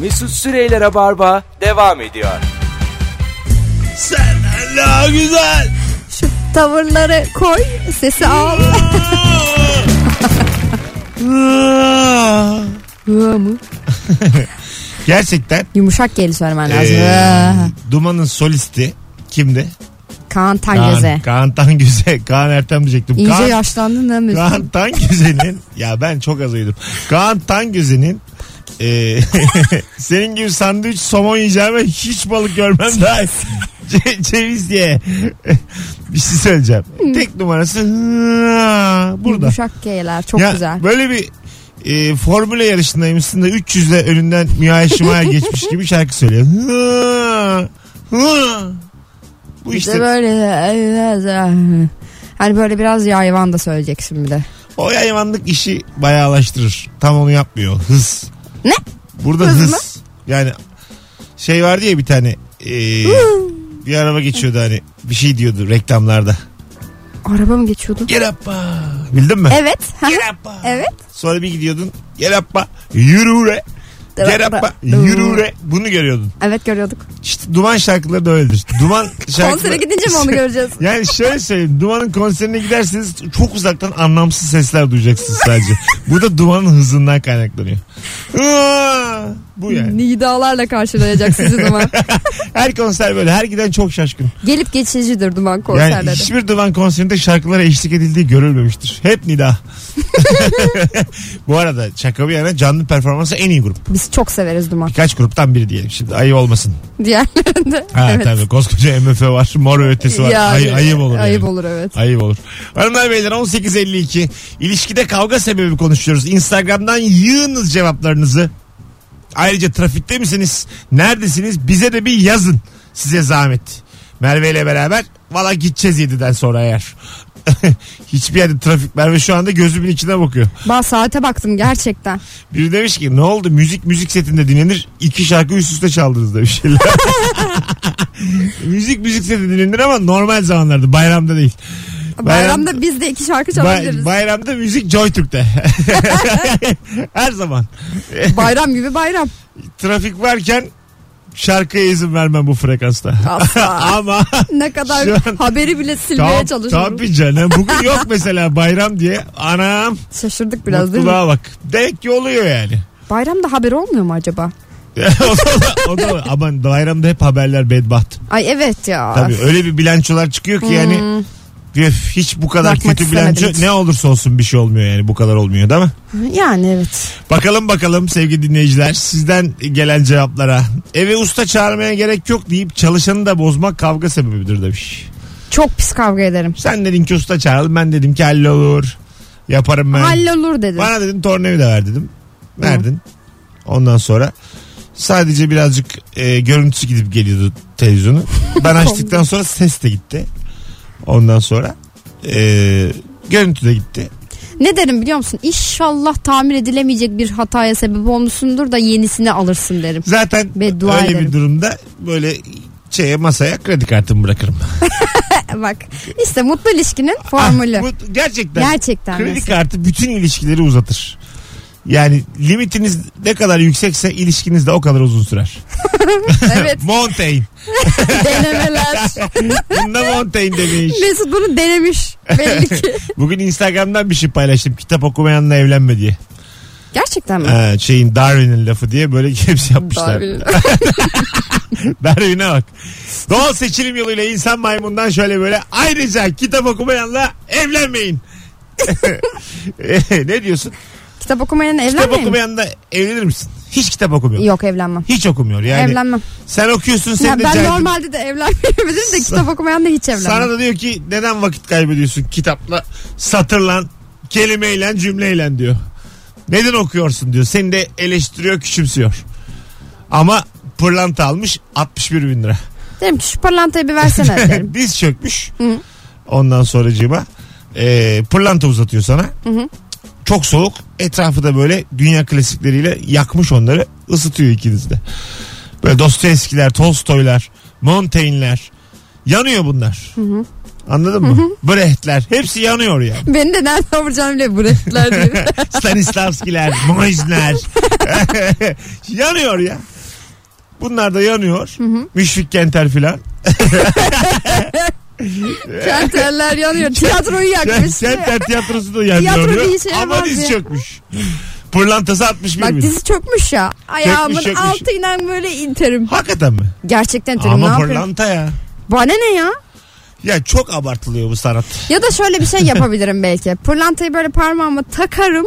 Mesut Süreyler'e barba devam ediyor.
Sen Allah güzel.
Şu tavırları koy, sesi al. Hı mı?
Gerçekten
Yumuşak geli söylemen
Ee,
lazım.
eee,
Hı.
Duman'ın solisti kimdi? Kaan,
Kaan Tangöze.
Kaan Tangöze. Kaan Ertem diyecektim.
İyice
Kaan-
yaşlandın ha Mesut?
Kaan Tangöze'nin ya ben çok az uyudum. Kaan Tangöze'nin e, senin gibi sandviç somon yiyeceğime hiç balık görmem daha iyi. Ce- ceviz diye bir şey söyleyeceğim. Tek numarası hı- burada.
Yumuşak geyler çok
Ya
güzel.
Böyle bir e, formüle yarışındaymışsın da 300 ile önünden Mihai Şimaya geçmiş gibi şarkı söylüyor. Hı- hı. Bu
İşte
işte
böyle hani böyle biraz yayvan da söyleyeceksin bir de.
O yayvanlık işi bayağılaştırır. Tam onu yapmıyor. Hız.
Ne?
Burada
Hız
hız.
mı?
Yani şey vardı ya bir tane eee, bir araba geçiyordu hani bir şey diyordu reklamlarda.
Araba mı geçiyordu?
Gel appa. Bildin mi?
Evet.
Gel appa.
evet.
Sonra bir gidiyordun. Gel appa. Yürü re. Gel appa. Yürü re. Bunu görüyordun.
Evet görüyorduk.
İşte duman şarkıları da öyledir. Duman şarkıları.
Konsere gidince mi onu göreceğiz?
Yani şöyle söyleyeyim. Duman'ın konserine giderseniz çok uzaktan anlamsız sesler duyacaksınız sadece. Bu da Duman'ın hızından kaynaklanıyor. Aa, Bu yani.
Nidalarla karşılayacak sizi duman.
Her konser böyle. Her giden çok şaşkın.
Gelip geçicidir duman
Yani
konserleri.
hiçbir Duman konserinde şarkılara eşlik edildiği görülmemiştir. Hep nida. Bu arada şaka bir yana canlı performansı en iyi grup.
Biz çok severiz duman.
Birkaç gruptan biri diyelim. Şimdi ayıp olmasın.
Diğerlerinde.
Ha
evet.
tabii koskoca MF var. Mor ve ötesi var.
Ya,
Ay- ayıp olur.
Ayıp
yani.
olur evet.
Ayıp olur. Hanımlar beyler 18.52 ilişkide kavga sebebi konuşuyoruz. Instagram'dan yığınız cevaplarınızı. Ayrıca trafikte misiniz? Neredesiniz? Bize de bir yazın. Size zahmet. Merve ile beraber valla gideceğiz 7'den sonra eğer. Hiçbir yerde trafik Merve şu anda gözümün içine bakıyor.
Ben saate baktım gerçekten.
Biri demiş ki ne oldu müzik müzik setinde dinlenir iki şarkı üst üste çaldınız demiş. müzik müzik setinde dinlenir ama normal zamanlarda bayramda değil.
Bayramda biz de iki şarkı
Bay-
çalabiliriz.
bayramda müzik Joytürk'te. Her zaman.
bayram gibi bayram.
Trafik varken şarkıya izin vermem bu frekansta.
Asla.
Ama
ne kadar
Şu an-
haberi bile silmeye
tam,
çalışıyoruz.
tabii canım. Bugün yok mesela bayram diye. Anam
Şaşırdık biraz
Biraz
değil mi?
mutluluğa bak. Demek ki oluyor yani.
Bayramda haber olmuyor mu acaba?
o da, o da, aman bayramda hep haberler bedbaht.
Ay evet ya.
Tabii öyle bir bilançolar çıkıyor ki yani
Hmm.
üf, hiç bu kadar
Bakmak
kötü
istemedim
bilanço
hiç.
ne olursa olsun bir şey olmuyor yani bu kadar olmuyor değil mi?
Yani evet.
Bakalım bakalım sevgili dinleyiciler sizden gelen cevaplara. Eve usta çağırmaya gerek yok deyip çalışanı da bozmak kavga sebebidir demiş.
Çok pis kavga ederim.
Sen dedin ki usta çağıralım ben dedim ki hallolur yaparım ben.
Hallolur dedi.
Bana dedin tornavida ver dedim. Verdin. Ondan sonra sadece birazcık e, görüntüsü gidip geliyordu televizyonu. Ben açtıktan sonra ses de gitti. Ondan sonra e, görüntü de gitti.
Ne derim biliyor musun? İnşallah tamir edilemeyecek bir hataya sebep olmuşsundur da yenisini alırsın derim.
Zaten
Beddua
öyle
ederim.
bir durumda böyle şeye masaya kredi kartımı bırakırım.
Bak işte mutlu ilişkinin formülü.
Ah, bu gerçekten.
Gerçekten.
kredi
mesela.
kartı bütün ilişkileri uzatır. Yani limitiniz ne kadar yüksekse ilişkiniz de o kadar uzun sürer.
Evet
Montaigne.
denemeler.
Bunda Montaigne demiş.
Mesut bunu denemiş belli ki.
Bugün Instagram'dan bir şey paylaştım. Kitap okumayanla evlenme diye.
Gerçekten mi?
Ee, şeyin Darwin'in lafı diye böyle hepsi yapmışlar.
Darwin.
Darwin'e bak. Doğal seçilim yoluyla insan maymundan şöyle böyle ayrıca kitap okumayanla evlenmeyin. Ee, ne diyorsun?
Kitap okumayan
Kitap
evlenmeyin.
okumayanla evlenir misin? Hiç kitap okumuyor.
Yok evlenmem.
Hiç okumuyor yani.
Evlenmem.
Sen okuyorsun sen
Ya
de
ben
cahil-
normalde de evlenmeyebilirim de kitap okumayan da hiç evlenmem.
Sana da diyor ki neden vakit kaybediyorsun kitapla satırla kelimeyle cümleyle diyor. Neden okuyorsun diyor. Seni de eleştiriyor küçümsüyor. Ama pırlanta almış 61 bin lira.
Derim ki şu parlantayı bir versene derim.
Diz çökmüş.
Hı.
Ondan sonracığıma e, pırlanta uzatıyor sana.
hı.
Çok soğuk. Etrafı da böyle dünya klasikleriyle yakmış onları. ısıtıyor ikiniz de. Böyle Dostoyevskiler, Tolstoylar, Montaigne'ler. Yanıyor bunlar. Anladın mı? Brecht'ler. Hepsi yanıyor ya.
Beni de nereden vuracağını bile bıraktılar diyor.
Stanislavskiler, Moisner. yanıyor ya. Bunlar da yanıyor. Müşfik Kenter filan.
Kenterler yanıyor. Tiyatroyu yakmış.
Kenter tiyatrosu da yanıyor.
Tiyatroda hiç yaramaz
Ama diz
ya.
çökmüş. Pırlantası 61
Bak
bin.
dizi çökmüş ya. Ayağımın
çökmüş.
altıyla böyle interim.
Hakikaten mi?
Gerçekten interim ne
Ama
yapıyorum?
pırlanta ya.
Bana ne ya?
Ya çok abartılıyor bu sanat.
Ya da şöyle bir şey yapabilirim belki. Pırlantayı böyle parmağıma takarım.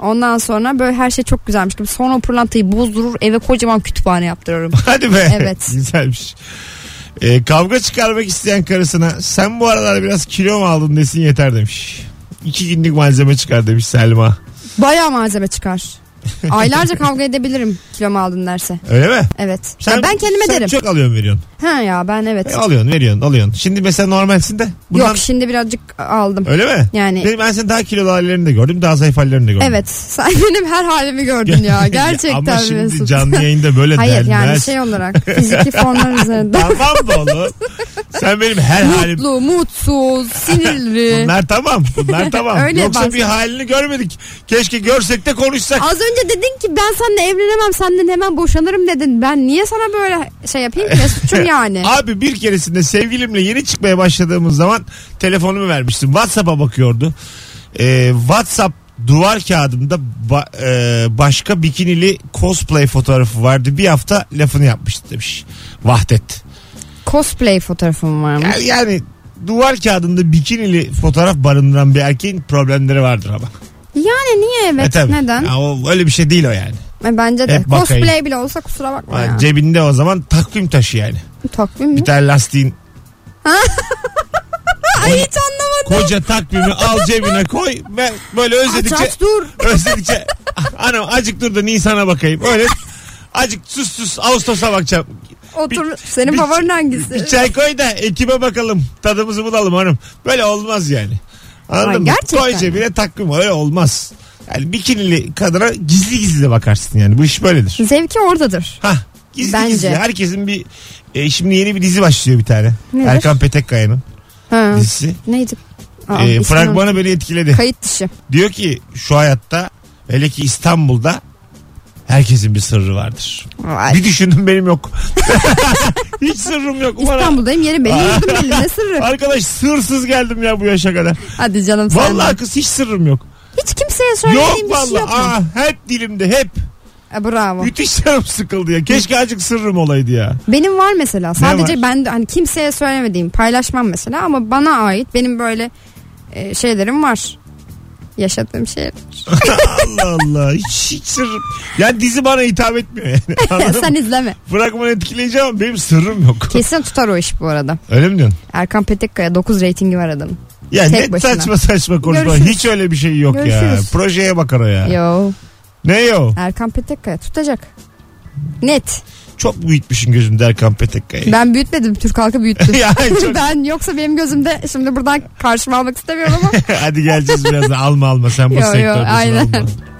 Ondan sonra böyle her şey çok güzelmiş gibi. Sonra o pırlantayı bozdurur eve kocaman kütüphane yaptırırım.
Hadi be.
Evet.
Güzelmiş. Ee, kavga çıkarmak isteyen karısına sen bu aralar biraz kilo mu aldın desin yeter demiş. İki günlük malzeme çıkar demiş Selma.
Bayağı malzeme çıkar. Aylarca kavga edebilirim kilom aldın derse.
Öyle mi?
Evet. Ya ben kendime
sen
derim.
çok alıyorsun veriyorsun.
Ha ya ben evet.
E, alıyorsun veriyorsun alıyorsun. Şimdi mesela normalsin de. Bundan...
Yok şimdi birazcık aldım.
Öyle mi?
Yani-
Benim, ben senin daha kilolu hallerini de gördüm. Daha zayıf hallerini de gördüm.
Evet sen benim her halimi gördün ya gerçekten
Ama şimdi
Mesut.
canlı yayında böyle
Hayır
denmez.
yani şey olarak fiziki formlar üzerinde.
Tamam mı oğlum? Sen benim her halim...
Mutlu, mutsuz, sinirli.
Bunlar tamam. Bunlar tamam.
Öyle
Yoksa
bahsediyor.
bir halini görmedik. Keşke görsek de konuşsak.
Az önce dedin ki ben seninle evlenemem senden hemen boşanırım dedin. Ben niye sana böyle şey yapayım ki Mesut'cum yani.
Abi bir keresinde sevgilimle yeni çıkmaya başladığımız zaman telefonumu vermiştim. WhatsApp'a bakıyordu. Ee, WhatsApp duvar kağıdımda ba- e, başka bikinili cosplay fotoğrafı vardı. Bir hafta lafını yapmıştı demiş. Vahdet.
Cosplay fotoğrafım var mı?
Yani, yani duvar kağıdında bikinili fotoğraf barındıran bir erkeğin problemleri vardır ama.
Yani niye
E
evet
tabii.
neden?
Ya o, öyle bir şey değil o yani.
E, bence de
Hep bakayım.
cosplay bile olsa kusura bakma
Ha,
ya.
Cebinde o zaman takvim taşı yani.
Takvim mi?
Bir tane lastiğin
Ay hiç anlamadım.
koca takvimi al cebine koy. Ben böyle
Aç
özledikçe
aç dur.
özledikçe anam acık dur da Nisan'a bakayım. Öyle acık sus sus Ağustos'a bakacağım.
Otur
Bir-
senin
bir-
favorin hangisi?
Bir çay koy da ekibe bakalım. Tadımızı bulalım hanım. Böyle olmaz yani. Anladın
Ay,
mı?
gerçekten
Koy
mi?
cebine takvim öyle olmaz. Yani bikinili kadına gizli gizli de bakarsın yani. Bu iş böyledir.
Zevki oradadır.
Ha gizli
Bence.
gizli. Herkesin bir e, şimdi yeni bir dizi başlıyor bir tane.
Nedir?
Erkan Petekkaya'nın
Ha.
dizisi.
Neydi? Aa,
E,
ismini unuttum.
fragmanı beni etkiledi.
Kayıt dışı.
Diyor ki şu hayatta hele ki İstanbul'da herkesin bir sırrı vardır.
Vay.
Bir düşündüm benim yok. Hiç sırrım yok. Ulan
İstanbul'dayım yeri belli yurdum belli ne sırrı.
Arkadaş sırsız geldim ya bu yaşa kadar.
Hadi canım sen.
Vallahi
de.
kız hiç sırrım yok.
Hiç kimseye
Yok
söylediğim bir şey
vallahi.
yok mu?
Aa, hep dilimde hep.
E, bravo.
Müthiş canım sıkıldı ya. Keşke azıcık sırrım olaydı ya.
Benim var mesela. Sadece
var?
ben de hani kimseye söylemediğim paylaşmam mesela ama bana ait benim böyle e, şeylerim var. Yaşadığım şey.
Allah Allah. Hiç, hiç sırrım. Yani dizi bana hitap etmiyor yani. Anladın
Sen
mı?
izleme.
Fragmanı etkileyeceğim ama benim sırrım yok.
Kesin tutar o iş bu arada.
Öyle mi diyorsun?
Erkan Petekkaya 9 reytingi var adamın.
Ya
Tek
ne
başına.
saçma saçma konuşma.
Görüşürüz.
Hiç öyle bir şey yok ya.
Görüşürüz.
Projeye bakar o ya.
Yo.
Ne yo?
Erkan Petekkaya tutacak. Net.
Çok büyütmüşsün gözümde Erkan Petekkaya'yı.
Ben büyütmedim. Türk halkı büyüttü.
ya çok...
ben yoksa benim gözümde şimdi buradan karşıma almak istemiyorum ama
Hadi geleceğiz biraz da alma alma sen bu
Yo, yo,
sektördesin
aynen.
alma.